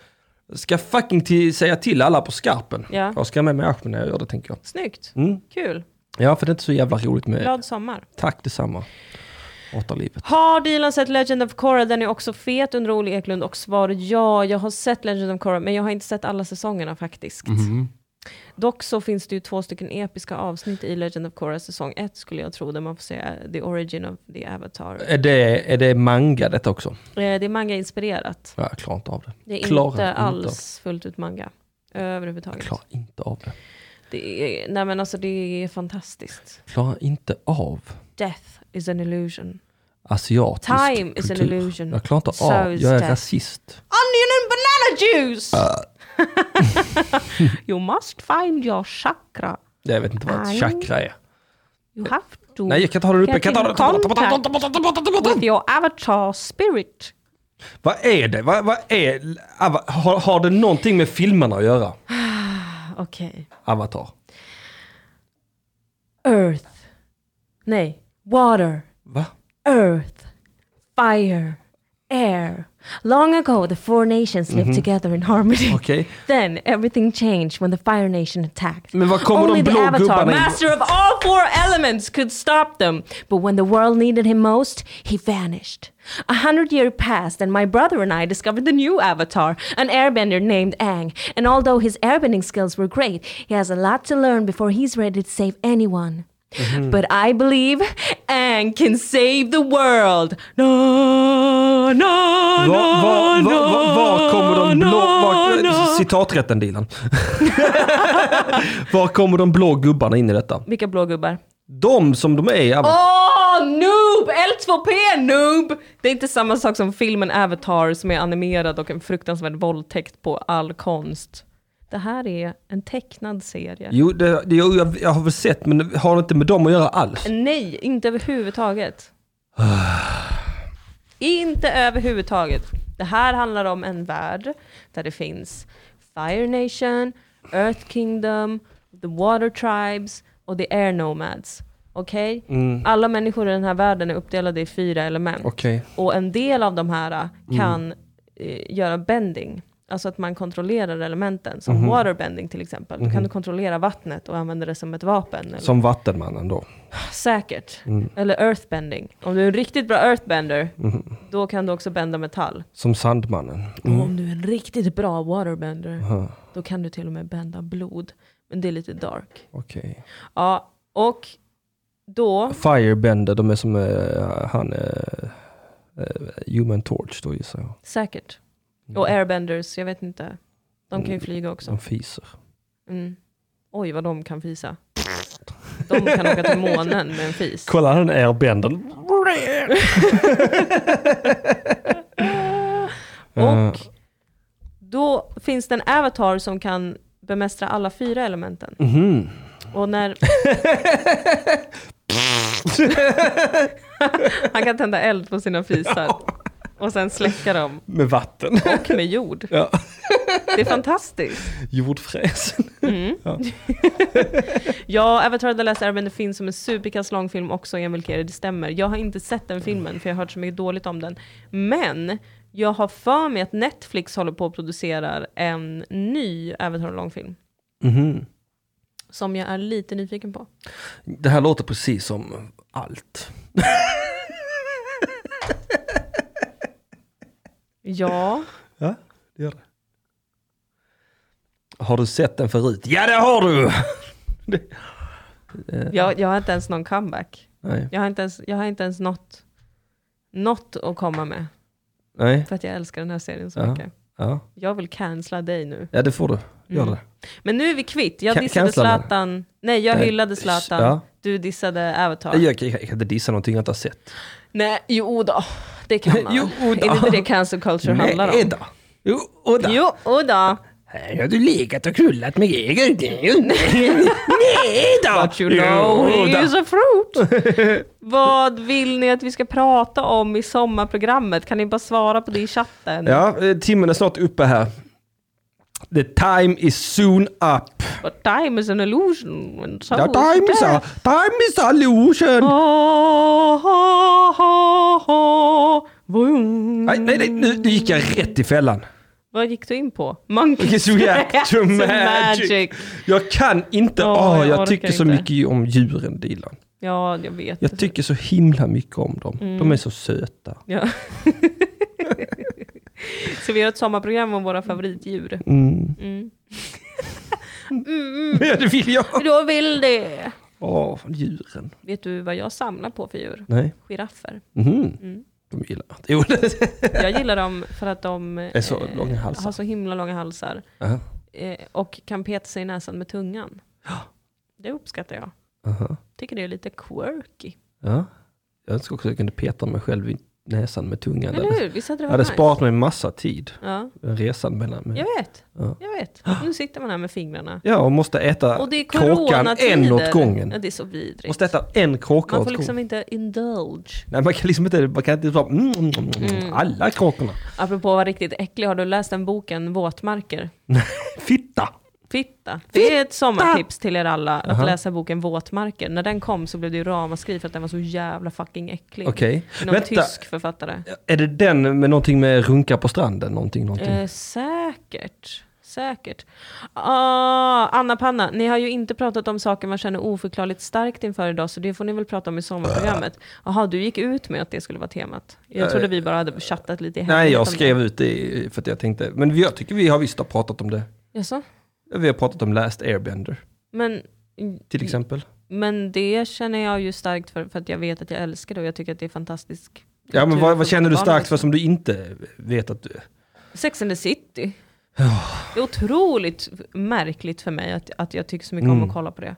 Speaker 3: Jag ska fucking till, säga till alla på skarpen.
Speaker 1: Ja.
Speaker 3: Jag ska ha med mig Ahmed när jag gör det tänker jag.
Speaker 1: Snyggt!
Speaker 3: Mm.
Speaker 1: Kul!
Speaker 3: Ja, för det är inte så jävla roligt med...
Speaker 1: Glad sommar!
Speaker 3: Tack detsamma. Åter livet.
Speaker 1: Har Dylan sett Legend of Korra? Den är också fet under Olle Eklund och svaret ja, jag har sett Legend of Korra men jag har inte sett alla säsongerna faktiskt.
Speaker 3: Mhm.
Speaker 1: Dock så finns det ju två stycken episka avsnitt i Legend of Korra säsong 1 skulle jag tro där man får se eh, the origin of the avatar. Eh,
Speaker 3: Är det, är det manga detta också?
Speaker 1: Det är manga-inspirerat.
Speaker 3: Ja, jag klarar inte av det.
Speaker 1: Det är
Speaker 3: Klarar
Speaker 1: inte alls
Speaker 3: av det.
Speaker 1: fullt ut manga. Överhuvudtaget.
Speaker 3: Jag klarar inte av det.
Speaker 1: Det är, nej men alltså det är fantastiskt.
Speaker 3: Jag klarar inte av
Speaker 1: Death is an illusion.
Speaker 3: asiatisk
Speaker 1: Time is
Speaker 3: kultur.
Speaker 1: an illusion.
Speaker 3: Jag klarar inte
Speaker 1: So
Speaker 3: av.
Speaker 1: is
Speaker 3: Jag är
Speaker 1: death.
Speaker 3: rasist.
Speaker 1: Onion and banana juice! you must find your chakra.
Speaker 3: Jag vet inte vad ett
Speaker 1: Nej.
Speaker 3: chakra är.
Speaker 1: You have to
Speaker 3: Nej, jag kan inte ha den uppe. Jag kan inte ha den. Ta bort, ta bort, ta bort, ta bort, ta bort, ta bort, ta bort.
Speaker 1: with your avatar spirit.
Speaker 3: Vad är det? Vad, vad är... Ava- Har, har det någonting med filmerna att göra?
Speaker 1: Okej.
Speaker 3: Avatar.
Speaker 1: Earth. Nej. Water.
Speaker 3: Va?
Speaker 1: Earth. Fire. Air. Long ago the four nations lived together in harmony.
Speaker 3: Okej.
Speaker 1: Then everything changed when the fire nation attacked.
Speaker 3: Men var kommer
Speaker 1: Only
Speaker 3: de
Speaker 1: the
Speaker 3: blå
Speaker 1: avatar,
Speaker 3: gubbarna in?
Speaker 1: master of all four violence could stop them. But when the world needed him most, he vanished. A hundred years passed, and my brother and I discovered the new avatar, an airbender named Aang. And although his airbending skills were great, he has a lot to learn before he's ready to save anyone.
Speaker 3: Mm-hmm.
Speaker 1: But I believe Aang can save the world. No, no,
Speaker 3: Var,
Speaker 1: no,
Speaker 3: var, var, var, var kommer de blå... Var,
Speaker 1: no, no.
Speaker 3: Citaträtten Dilan. var kommer de blå gubbarna in i detta?
Speaker 1: Vilka blå gubbar?
Speaker 3: De som de är i Avatar.
Speaker 1: Åh, noob! L2P, noob! Det är inte samma sak som filmen Avatar som är animerad och en fruktansvärd våldtäkt på all konst. Det här är en tecknad serie.
Speaker 3: Jo, det, det, jo jag, jag har väl sett men det har inte med dem att göra alls.
Speaker 1: Nej, inte överhuvudtaget. inte överhuvudtaget. Det här handlar om en värld där det finns Fire Nation, Earth Kingdom, The Water Tribes och The Air Nomads. Okej? Alla människor i den här världen är uppdelade i fyra element.
Speaker 3: Okej.
Speaker 1: Och en del av de här eh, kan eh, göra bending. Alltså att man kontrollerar elementen, som waterbending till exempel. Då kan du kontrollera vattnet och använda det som ett vapen. Eller
Speaker 3: Som Vattenmannen då.
Speaker 1: Säkert. Eller earthbending. Om du är en riktigt bra earthbender, då kan du också bända metall.
Speaker 3: Mhm. Som Sandmannen.
Speaker 1: Och om du är en riktigt bra waterbender, då kan du till och med bända blod. Men det är lite dark.
Speaker 3: Okej.
Speaker 1: Ja, och då...
Speaker 3: Firebender, de är som eh, han... eh, eh, human Torch då gissar jag.
Speaker 1: Säkert. Och airbenders, jag vet inte. De kan ju flyga också.
Speaker 3: De fiser.
Speaker 1: Mm. Oj, vad de kan fisa. De kan åka till månen med en fis.
Speaker 3: Kolla den airbendern. Eh.
Speaker 1: Och då finns det en avatar som kan bemästra alla fyra elementen.
Speaker 3: Mhm.
Speaker 1: Och när... Han kan tända eld på sina fisar. Och sen släcka dem.
Speaker 3: Med vatten.
Speaker 1: Och med jord.
Speaker 3: Ja.
Speaker 1: Det är fantastiskt.
Speaker 3: Jordfräs.
Speaker 1: Ja, Avatar The Last Airbender finns som en superkass långfilm också, Emil Keri, det stämmer. Jag har inte sett den filmen, för jag har hört så mycket dåligt om den. Men jag har för mig att Netflix håller på att producera en ny Avatar långfilm.
Speaker 3: Mhm.
Speaker 1: Som jag är lite nyfiken på.
Speaker 3: Det här låter precis som allt.
Speaker 1: Ja.
Speaker 3: Ja, det gör det. Har du sett den förut? Ja, det har du!
Speaker 1: Jag, jag har inte ens någon comeback.
Speaker 3: Nej.
Speaker 1: Jag har inte ens, jag har inte ens något, något att komma med.
Speaker 3: Nej.
Speaker 1: För att jag älskar den här serien så
Speaker 3: Ja.
Speaker 1: mycket.
Speaker 3: Ja.
Speaker 1: Jag vill cancella dig nu.
Speaker 3: ja, det får du. Gör
Speaker 1: Mm.
Speaker 3: det.
Speaker 1: Men nu är vi kvitt. Jag
Speaker 3: Ca-
Speaker 1: dissade
Speaker 3: cancella mig.
Speaker 1: Zlatan. Nej, jag
Speaker 3: Nej,
Speaker 1: hyllade Zlatan.
Speaker 3: ja.
Speaker 1: Du dissade Avatar.
Speaker 3: Jag, jag, jag kan inte dissa någonting jag inte har sett.
Speaker 1: Nej, jo då. Det kan man.
Speaker 3: Jo, då.
Speaker 1: Är det inte det cancel culture handlar om?
Speaker 3: då. Jo, och då.
Speaker 1: Jo, och då.
Speaker 3: Här har du legat och knullat med Jäger. Nej då!
Speaker 1: But you know he is a fruit. Vad vill ni att vi ska prata om i sommarprogrammet? Kan ni bara svara på det i chatten?
Speaker 3: Ja, eh, timmen är snart uppe här. The time is soon up.
Speaker 1: But time is an illusion. and so
Speaker 3: The time is a,
Speaker 1: death.
Speaker 3: time is a illusion.
Speaker 1: Ah, ah, ah, ah. Vroom.
Speaker 3: Nej, nej, nej, nu nu gick jag rätt i fällan.
Speaker 1: Vad gick du in på? Monkeys
Speaker 3: Monkeys react to magic.
Speaker 1: magic.
Speaker 3: Jag kan inte,
Speaker 1: Åh,
Speaker 3: åh,
Speaker 1: jag
Speaker 3: jag
Speaker 1: orkar
Speaker 3: tycker så
Speaker 1: inte.
Speaker 3: mycket om djuren Dilan.
Speaker 1: Ja, jag vet.
Speaker 3: Jag tycker så himla mycket om dem. De är så söta.
Speaker 1: Ja. Så vi gör ett sommarprogram om våra favoritdjur.
Speaker 3: Mm.
Speaker 1: Mm.
Speaker 3: Ja, det vill jag.
Speaker 1: Då vill det.
Speaker 3: Åh, djuren.
Speaker 1: Vet du vad jag samlar på för djur?
Speaker 3: Nej.
Speaker 1: Giraffer.
Speaker 3: Mhm.
Speaker 1: Mm.
Speaker 3: De gillar att... Jo, det
Speaker 1: Jag gillar dem för att de eh,
Speaker 3: är så långa
Speaker 1: har
Speaker 3: halsar.
Speaker 1: så himla långa halsar
Speaker 3: Aha,
Speaker 1: eh, och kan peta sig i näsan med tungan. Det uppskattar jag.
Speaker 3: aha.
Speaker 1: Tycker det är lite quirky.
Speaker 3: Ja. Jag önskar också att jag kunde peta mig själv i näsan med tungan. Det
Speaker 1: Eller hur? Visst hade det varit
Speaker 3: hade- hade
Speaker 1: nice?
Speaker 3: sparat mig massa tid.
Speaker 1: Ja,
Speaker 3: Resan mellan mig.
Speaker 1: jag vet.
Speaker 3: Ja.
Speaker 1: Jag vet. Nu sitter man här med fingrarna.
Speaker 3: Ja, och måste äta
Speaker 1: Och det är
Speaker 3: kråkan
Speaker 1: coronatider.
Speaker 3: en åt
Speaker 1: Ja,
Speaker 3: gången.
Speaker 1: det är så vidrigt.
Speaker 3: Måste äta en kråka
Speaker 1: Man får
Speaker 3: åt gången.
Speaker 1: liksom inte indulge.
Speaker 3: Nej, man kan liksom inte, man kan inte bara, mm, mm, mm,
Speaker 1: Mm.
Speaker 3: alla kråkorna.
Speaker 1: Apropå att vara riktigt äcklig, har du läst den boken Våtmarker?
Speaker 3: Fitta!
Speaker 1: Fitta. Det är ett sommartips till er alla, att
Speaker 3: Aha.
Speaker 1: läsa boken Våtmarker. När den kom så blev det ju ramaskri för att den var så jävla fucking äcklig.
Speaker 3: Okej,
Speaker 1: Någon
Speaker 3: vänta.
Speaker 1: tysk författare.
Speaker 3: Är det den med någonting med runka på stranden? Någonting, någonting.
Speaker 1: Eh, säkert. Säkert. Ah, Anna Panna, ni har ju inte pratat om saker man känner oförklarligt starkt inför idag, så det får ni väl prata om i sommarprogrammet. Jaha, du gick ut med att det skulle vara temat. Jag trodde vi bara hade chattat lite i
Speaker 3: Eh, Nej,
Speaker 1: hemlighet om
Speaker 3: jag
Speaker 1: det.
Speaker 3: skrev ut det för att jag tänkte, men jag tycker vi har visst har pratat om det.
Speaker 1: Jaså?
Speaker 3: Vi har pratat om Last Airbender,
Speaker 1: Men, Mm.
Speaker 3: till exempel.
Speaker 1: men det känner jag ju starkt för, för att jag vet att jag älskar det och jag tycker att det är fantastiskt.
Speaker 3: Ja, men vad,
Speaker 1: för
Speaker 3: vad känner du
Speaker 1: barn
Speaker 3: starkt för
Speaker 1: också.
Speaker 3: som du inte vet att du...
Speaker 1: Sex and the City. Det är otroligt märkligt för mig att, att jag tycker så mycket om
Speaker 3: Mm.
Speaker 1: att kolla på det.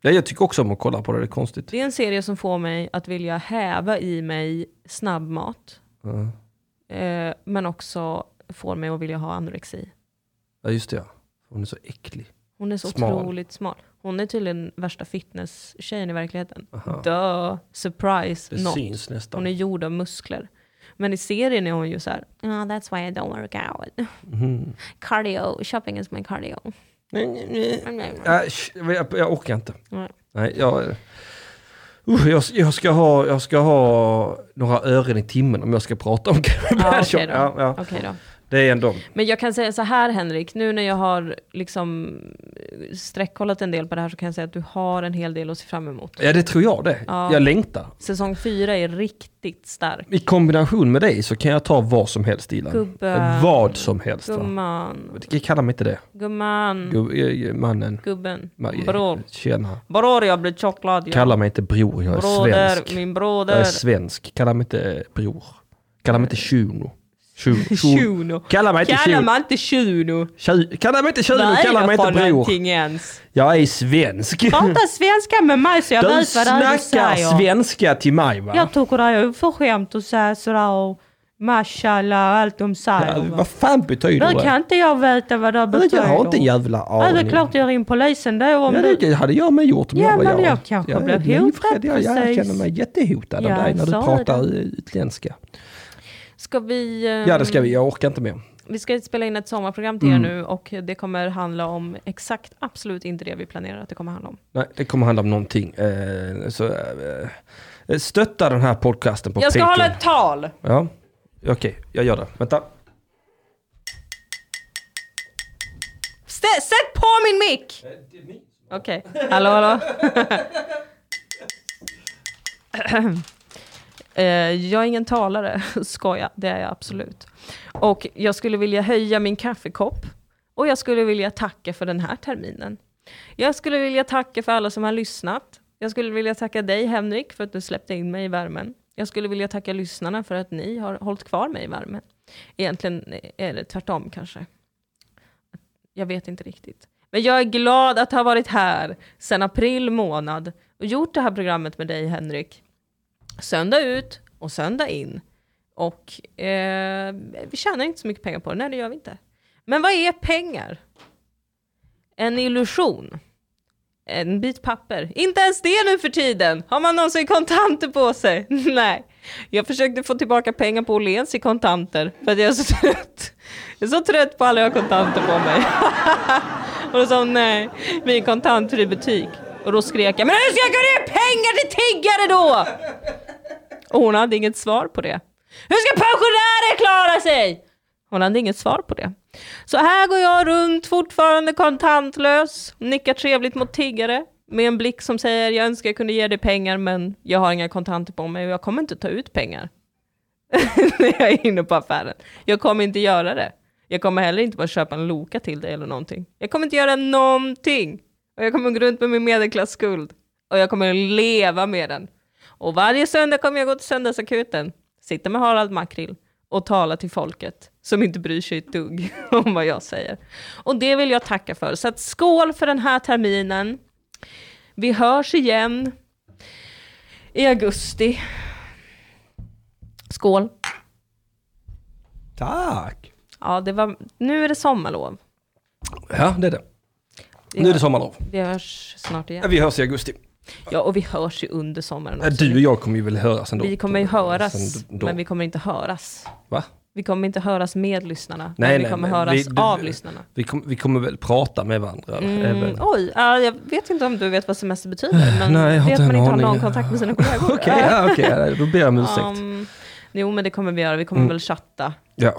Speaker 3: Ja, jag tycker också om att kolla på det, det är konstigt.
Speaker 1: Det är en serie som får mig att vilja häva i mig snabbmat,
Speaker 3: Ja,
Speaker 1: eh, men också får mig att vilja ha anorexi.
Speaker 3: Ja, just det ja. Hon är så äcklig.
Speaker 1: Hon är så
Speaker 3: Smal.
Speaker 1: otroligt smal. Hon är tydligen värsta fitness-tjejen i verkligheten.
Speaker 3: Aha.
Speaker 1: Duh, surprise,
Speaker 3: Det
Speaker 1: not.
Speaker 3: syns nästan.
Speaker 1: Hon är gjord av muskler. Men i serien är hon ju så här, "Ah, that's why I don't work out.
Speaker 3: Mhm.
Speaker 1: Cardio, shopping is my cardio.
Speaker 3: Äh, sh- jag, jag orkar inte.
Speaker 1: Nej.
Speaker 3: Nej, jag, uh, jag, jag, ska ha, jag ska ha några ören i timmen om jag ska prata om Carrie
Speaker 1: Ja,
Speaker 3: Bradshaw.
Speaker 1: okej då.
Speaker 3: ja, ja.
Speaker 1: Okej då.
Speaker 3: Det är ändå...
Speaker 1: Men jag kan säga så här Henrik, nu när jag har liksom streckkollat en del på det här så kan jag säga att du har en hel del att se fram emot.
Speaker 3: Ja, det tror jag det.
Speaker 1: Ja.
Speaker 3: Jag längtar.
Speaker 1: Säsong fyra är riktigt stark.
Speaker 3: I kombination med dig så kan jag ta vad som helst Dilan.
Speaker 1: Gubbe. Mm.
Speaker 3: Vad som helst. Va?
Speaker 1: Gumman,
Speaker 3: Jag kallar mig inte det.
Speaker 1: gumman,
Speaker 3: Gubb, eh, mannen.
Speaker 1: gubben,
Speaker 3: Ma- eh,
Speaker 1: bror.
Speaker 3: Tjena.
Speaker 1: Bror, jag blir choklad. Jag.
Speaker 3: Kalla mig inte bror, jag är
Speaker 1: Broder,
Speaker 3: svensk.
Speaker 1: min
Speaker 3: Jag är
Speaker 1: broder.
Speaker 3: svensk. Kalla mig inte bror. Kalla mig inte shuno. Shu- shu-
Speaker 1: Shuno.
Speaker 3: Kalla mig inte
Speaker 1: Kallar
Speaker 3: shuno.
Speaker 1: man inte shuno?
Speaker 3: Tju- Kalla mig inte tjuv,
Speaker 1: Vad är
Speaker 3: kalla mig
Speaker 1: jag för
Speaker 3: inte bror.
Speaker 1: någonting ens?
Speaker 3: Jag är svensk.
Speaker 1: Prata svenska med mig så jag
Speaker 3: Du
Speaker 1: vet vad det är du säger.
Speaker 3: snackar svenska till mig va?
Speaker 1: Jag tycker det är oförskämt att säga sådär och mashallah och allt de
Speaker 3: Ja,
Speaker 1: säger.
Speaker 3: vad fan betyder
Speaker 1: Då
Speaker 3: det?
Speaker 1: kan inte jag veta vad det betyder.
Speaker 3: Jag har inte en jävla
Speaker 1: Ja,
Speaker 3: aning.
Speaker 1: det är klart jag ringer polisen då om
Speaker 3: Ja,
Speaker 1: du...
Speaker 3: det, det hade jag med gjort om
Speaker 1: Ja,
Speaker 3: jag var
Speaker 1: men
Speaker 3: jag.
Speaker 1: jag kanske blev
Speaker 3: är livrädd.
Speaker 1: hotad,
Speaker 3: jag, jag
Speaker 1: precis.
Speaker 3: känner mig jättehotad
Speaker 1: Ja,
Speaker 3: av dig när du
Speaker 1: sa
Speaker 3: pratar
Speaker 1: det.
Speaker 3: utländska.
Speaker 1: Ska vi... ehm,
Speaker 3: Ja det ska
Speaker 1: Mm.
Speaker 3: Mm. vi, jag orkar inte mer.
Speaker 1: Vi ska spela in ett sommarprogram till er nu och det kommer handla om exakt absolut inte det vi planerar att det kommer handla om.
Speaker 3: Nej, det kommer handla om någonting. Eh, så, eh, stötta den här podcasten på
Speaker 1: Jag ska
Speaker 3: Patreon.
Speaker 1: hålla ett tal!
Speaker 3: Ja, okej, jag gör det. Vänta.
Speaker 1: Stä- Sätt på min mick! Okej, hallå hallå. Eh, jag är ingen talare, skoja, det är jag absolut. Och jag skulle vilja höja min kaffekopp och jag skulle vilja tacka för den här terminen. Jag skulle vilja tacka för alla som har lyssnat. Jag skulle vilja tacka dig Henrik för att du släppte in mig i värmen. Jag skulle vilja tacka lyssnarna för att ni har hållit kvar mig i värmen. Egentligen är det tvärtom kanske. Jag vet inte riktigt. Men jag är glad att ha varit här sedan april månad och gjort det här programmet med dig Henrik. Söndag ut och söndag in. Och eh, vi tjänar inte så mycket pengar på det, nej det gör vi inte. Men vad är pengar? En illusion. En bit papper. Inte ens det nu för tiden! Har man någonsin kontanter på sig? Nej. Jag försökte få tillbaka pengar på Åhléns i kontanter för att jag är så trött. Jag är så trött på alla jag har kontanter på mig. Och då sa hon nej, vi är en kontantfri butik. Och då skrek jag, men hur ska jag kunna ge pengar till tiggare då? Och hon hade inget svar på det. Hur ska pensionärer klara sig? Hon hade inget svar på det. Så här går jag runt fortfarande kontantlös, nickar trevligt mot tiggare med en blick som säger jag önskar jag kunde ge dig pengar men jag har inga kontanter på mig och jag kommer inte ta ut pengar när jag är inne på affären. Jag kommer inte göra det. Jag kommer heller inte bara köpa en Loka till dig eller någonting. Jag kommer inte göra någonting. Och jag kommer gå runt med min medelklassskuld. Och jag kommer leva med den. Och varje söndag kommer jag gå till söndagsakuten, sitta med Harald Makrill och tala till folket som inte bryr sig ett dugg om vad jag säger. Och det vill jag tacka för. Så att skål för den här terminen. Vi hörs igen i augusti. Skål.
Speaker 3: Tack!
Speaker 1: Ja, det var, nu är det sommarlov.
Speaker 3: Ja, det är det. Nu är det sommarlov.
Speaker 1: Vi hörs snart
Speaker 3: Ja,
Speaker 1: igen.
Speaker 3: vi hörs i augusti.
Speaker 1: Ja, och vi hörs ju under sommaren
Speaker 3: Ja,
Speaker 1: också.
Speaker 3: Du och jag kommer ju väl höras ändå.
Speaker 1: Vi kommer ju höras,
Speaker 3: Sen då.
Speaker 1: men vi kommer inte höras.
Speaker 3: Va?
Speaker 1: Vi kommer inte höras med lyssnarna,
Speaker 3: Nej,
Speaker 1: men vi
Speaker 3: nej,
Speaker 1: kommer
Speaker 3: men
Speaker 1: höras
Speaker 3: vi- du-
Speaker 1: av lyssnarna. Mm.
Speaker 3: Vi, kom, vi kommer väl prata med varandra? Även.
Speaker 1: Oj, ja, jag vet inte om du vet vad semester betyder, men
Speaker 3: Mm, Nej, jag
Speaker 1: det är
Speaker 3: har inte
Speaker 1: att man
Speaker 3: en
Speaker 1: inte har
Speaker 3: aning.
Speaker 1: någon kontakt med sina kollegor.
Speaker 3: Okej, ja, okej, ja, då ber jag om ursäkt. Mm.
Speaker 1: Um, jo, men det kommer vi göra. Vi kommer väl chatta.
Speaker 3: Ja.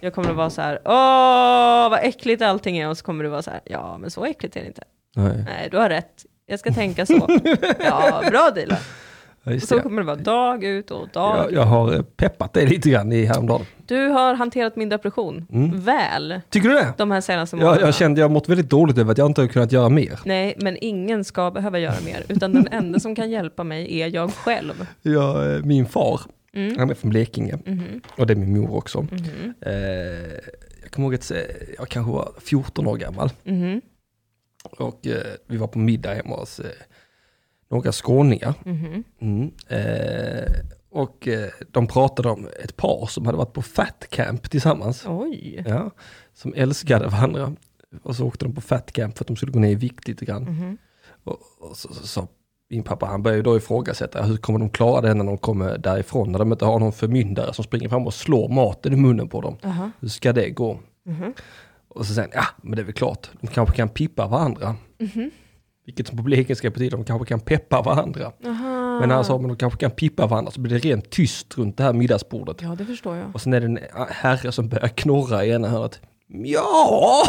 Speaker 1: Jag kommer att vara så här, åh vad äckligt allting är och så kommer du vara så här, ja men så äckligt är det inte.
Speaker 3: Nej.
Speaker 1: Nej du har rätt, jag ska tänka så. ja, bra Dilan.
Speaker 3: Ja,
Speaker 1: Och
Speaker 3: just
Speaker 1: så
Speaker 3: det.
Speaker 1: kommer det vara dag ut och dag
Speaker 3: Jag, jag har eh, peppat dig lite grann i häromdagen.
Speaker 1: Du har hanterat min depression väl
Speaker 3: Tycker du det?
Speaker 1: de här senaste
Speaker 3: Mm. Jag,
Speaker 1: månaderna.
Speaker 3: jag kände jag mått väldigt dåligt över att jag inte har kunnat göra mer.
Speaker 1: Nej, men ingen ska behöva göra mer, utan den enda som kan hjälpa mig är jag själv.
Speaker 3: jag, eh, min far, han är från Blekinge. Och det är min mor också. Eh, jag kommer ihåg att eh, jag kanske var 14 år gammal.
Speaker 1: Mhm.
Speaker 3: Och eh, vi var på middag hemma hos eh, några skåningar. Mm. Eh, och eh, de pratade om ett par som hade varit på fat camp tillsammans.
Speaker 1: Oj.
Speaker 3: Ja, som älskade varandra. Och så åkte de på fat camp för att de skulle gå ner i vikt lite grann. Och, och så, så, så min pappa, han började ju då ifrågasätta, hur kommer de klara det när de kommer därifrån? När de inte har någon förmyndare som springer fram och slår maten i munnen på dem. Hur ska det gå? Och så säger han, ja men det är väl klart, de kanske kan pippa varandska Vilket som på blekinska betyder, de kanske kan peppa varandra. Men han sa, men de kanske kan pippa varandra, så blir det rent tyst runt det här middagsbordet.
Speaker 1: Ja, det förstår jag.
Speaker 3: Och sen är det en äh, herre som börjar knorra i ena hörnet. Ja!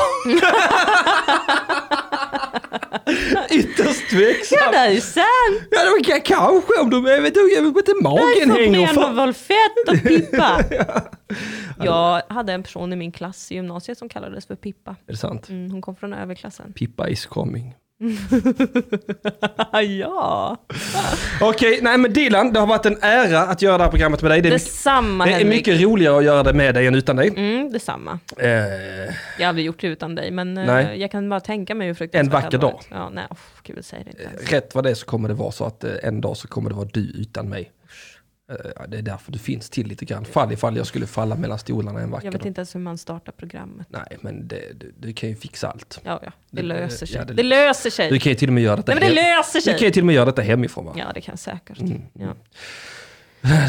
Speaker 3: Ytterst
Speaker 1: Ja,
Speaker 3: tveksam.
Speaker 1: det är ju sant!
Speaker 3: Ja, de kan kanske om de är vet du, jag vet inte magen hänger
Speaker 1: Därför blev
Speaker 3: för...
Speaker 1: väl fett och Pippa. Jag hade en person i min klass i gymnasiet som kallades för Pippa.
Speaker 3: Är det sant?
Speaker 1: Mm, hon kom från överklassen.
Speaker 3: Pippa is coming.
Speaker 1: ja!
Speaker 3: Okej, nej men Dilan, det har varit en ära att göra det här programmet med dig. Det är, mycket,
Speaker 1: Detsamma
Speaker 3: det är
Speaker 1: Henrik.
Speaker 3: mycket roligare att göra det med dig än utan dig.
Speaker 1: Mm, detsamma.
Speaker 3: Eh,
Speaker 1: Jag har aldrig gjort det utan dig, men eh,
Speaker 3: Nej.
Speaker 1: jag kan bara tänka mig hur fruktansvärt
Speaker 3: En vacker
Speaker 1: det hade
Speaker 3: dag. Eh,
Speaker 1: varit. Ja, nej, oh, gud, säg det inte ens.
Speaker 3: rätt vad det är så kommer det vara så att eh, en dag så kommer det vara du utan mig. Eh, ja, det är därför du finns till lite grann. Fall ifall jag skulle falla mellan stolarna en vacker
Speaker 1: Jag
Speaker 3: dag.
Speaker 1: vet inte ens hur man startar programmet.
Speaker 3: Nej, men det, du, du kan ju fixa allt.
Speaker 1: Ja, ja, det
Speaker 3: Det-
Speaker 1: löser sig.
Speaker 3: ja,
Speaker 1: det,
Speaker 3: det-
Speaker 1: löser sig!
Speaker 3: Du kan ju till och med göra detta,
Speaker 1: Nej, men det
Speaker 3: hem-
Speaker 1: löser
Speaker 3: du
Speaker 1: sig!
Speaker 3: kan ju Mm. till och med göra detta hemifrån va?
Speaker 1: Ja, det kan jag säkert. Ja.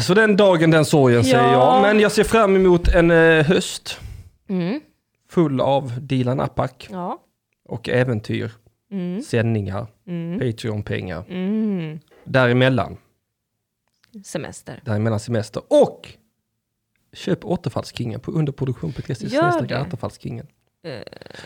Speaker 3: Så den dagen, den sorgen säger
Speaker 1: Ja.
Speaker 3: jag. Men jag ser fram emot en eh, höst
Speaker 1: Mm.
Speaker 3: full av Dilan Apak
Speaker 1: ja.
Speaker 3: och äventyr,
Speaker 1: Mm.
Speaker 3: sändningar, Patreon-pengar. Däremellan,
Speaker 1: Semester.
Speaker 3: däremellan semester och köp Återfallskingen på underproduktion.se.
Speaker 1: Gör det.
Speaker 3: snedstreck Återfallskingen.
Speaker 1: Eh,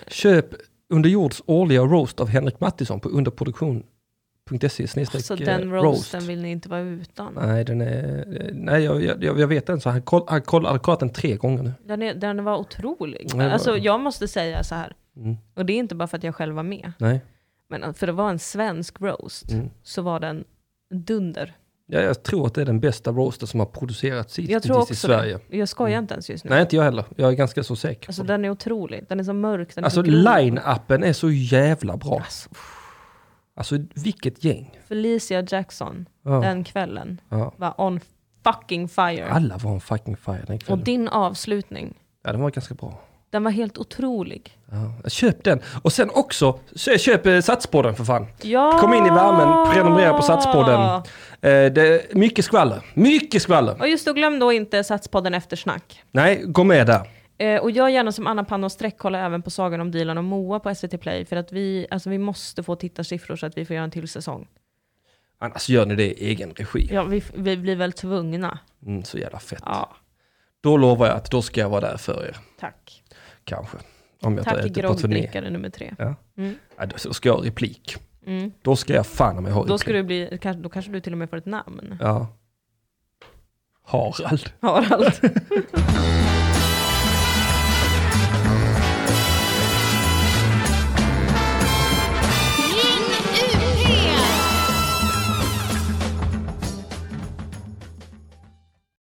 Speaker 3: Köp Underjords årliga roast av Henrik Mattisson på underproduktion.se.
Speaker 1: Så
Speaker 3: snedstreck, eh,
Speaker 1: Alltså, den
Speaker 3: roast.
Speaker 1: roasten vill ni inte vara utan.
Speaker 3: Nej, den är, nej jag, jag, jag vet den så. Han kollar han koll, han har kollat den tre gånger nu.
Speaker 1: Den, är, den var otrolig.
Speaker 3: det var-
Speaker 1: Alltså, jag måste säga så här,
Speaker 3: Mm.
Speaker 1: och det är inte bara för att jag själv var med,
Speaker 3: Nej.
Speaker 1: men för det var en svensk roast,
Speaker 3: Mm.
Speaker 1: så var den dunder.
Speaker 3: Ja, jag tror att det är den bästa roaster som har producerats
Speaker 1: Jag
Speaker 3: hittills
Speaker 1: tror
Speaker 3: i
Speaker 1: också
Speaker 3: Sverige. Mm.
Speaker 1: det. Jag skojar inte ens just nu.
Speaker 3: Nej, inte jag heller. Jag är ganska så säker.
Speaker 1: Alltså
Speaker 3: på det.
Speaker 1: den är otrolig. Den är så mörk. Den
Speaker 3: alltså
Speaker 1: är så grov.
Speaker 3: line-appen är så jävla bra.
Speaker 1: Alltså,
Speaker 3: Alltså vilket gäng.
Speaker 1: Felicia Jackson,
Speaker 3: Ja.
Speaker 1: den kvällen,
Speaker 3: Ja.
Speaker 1: var on fucking fire.
Speaker 3: Alla var en fucking fire den
Speaker 1: Och
Speaker 3: kvällen.
Speaker 1: din avslutning,
Speaker 3: Ja, den var ganska bra.
Speaker 1: den var helt otrolig.
Speaker 3: Ja. Köp den. Och sen också, kö- köp eh, Satspodden för fan.
Speaker 1: Ja!
Speaker 3: Kom in i värmen, prenumerera på Satspodden. Eh, det är mycket skvaller. Mycket skvaller.
Speaker 1: Och just då, glöm då inte Satspodden Eftersnack.
Speaker 3: Nej, gå med där.
Speaker 1: Eh, och gör gärna som Anna Pann och Streck, kolla även på Sagan om Dilan och Moa på SVT Play. För att vi, alltså, vi måste få tittarsiffror så att vi får göra en till säsong.
Speaker 3: Annars gör ni det i egen regi.
Speaker 1: Ja, vi, vi blir väl tvungna.
Speaker 3: Mm, så jävla fett.
Speaker 1: Ja,
Speaker 3: Då lovar jag att då ska jag vara där för er,
Speaker 1: tack.
Speaker 3: kanske. Om jag tar
Speaker 1: Tack
Speaker 3: ut på turné.
Speaker 1: groggdrickare nummer tre.
Speaker 3: Ja. Ja, då då ska jag ha replik.
Speaker 1: Mm.
Speaker 3: Då ska jag fan om jag har
Speaker 1: Då,
Speaker 3: replik.
Speaker 1: ska du bli, kan- då kanske du till och med får ett namn.
Speaker 3: Ja. Harald.
Speaker 1: Harald.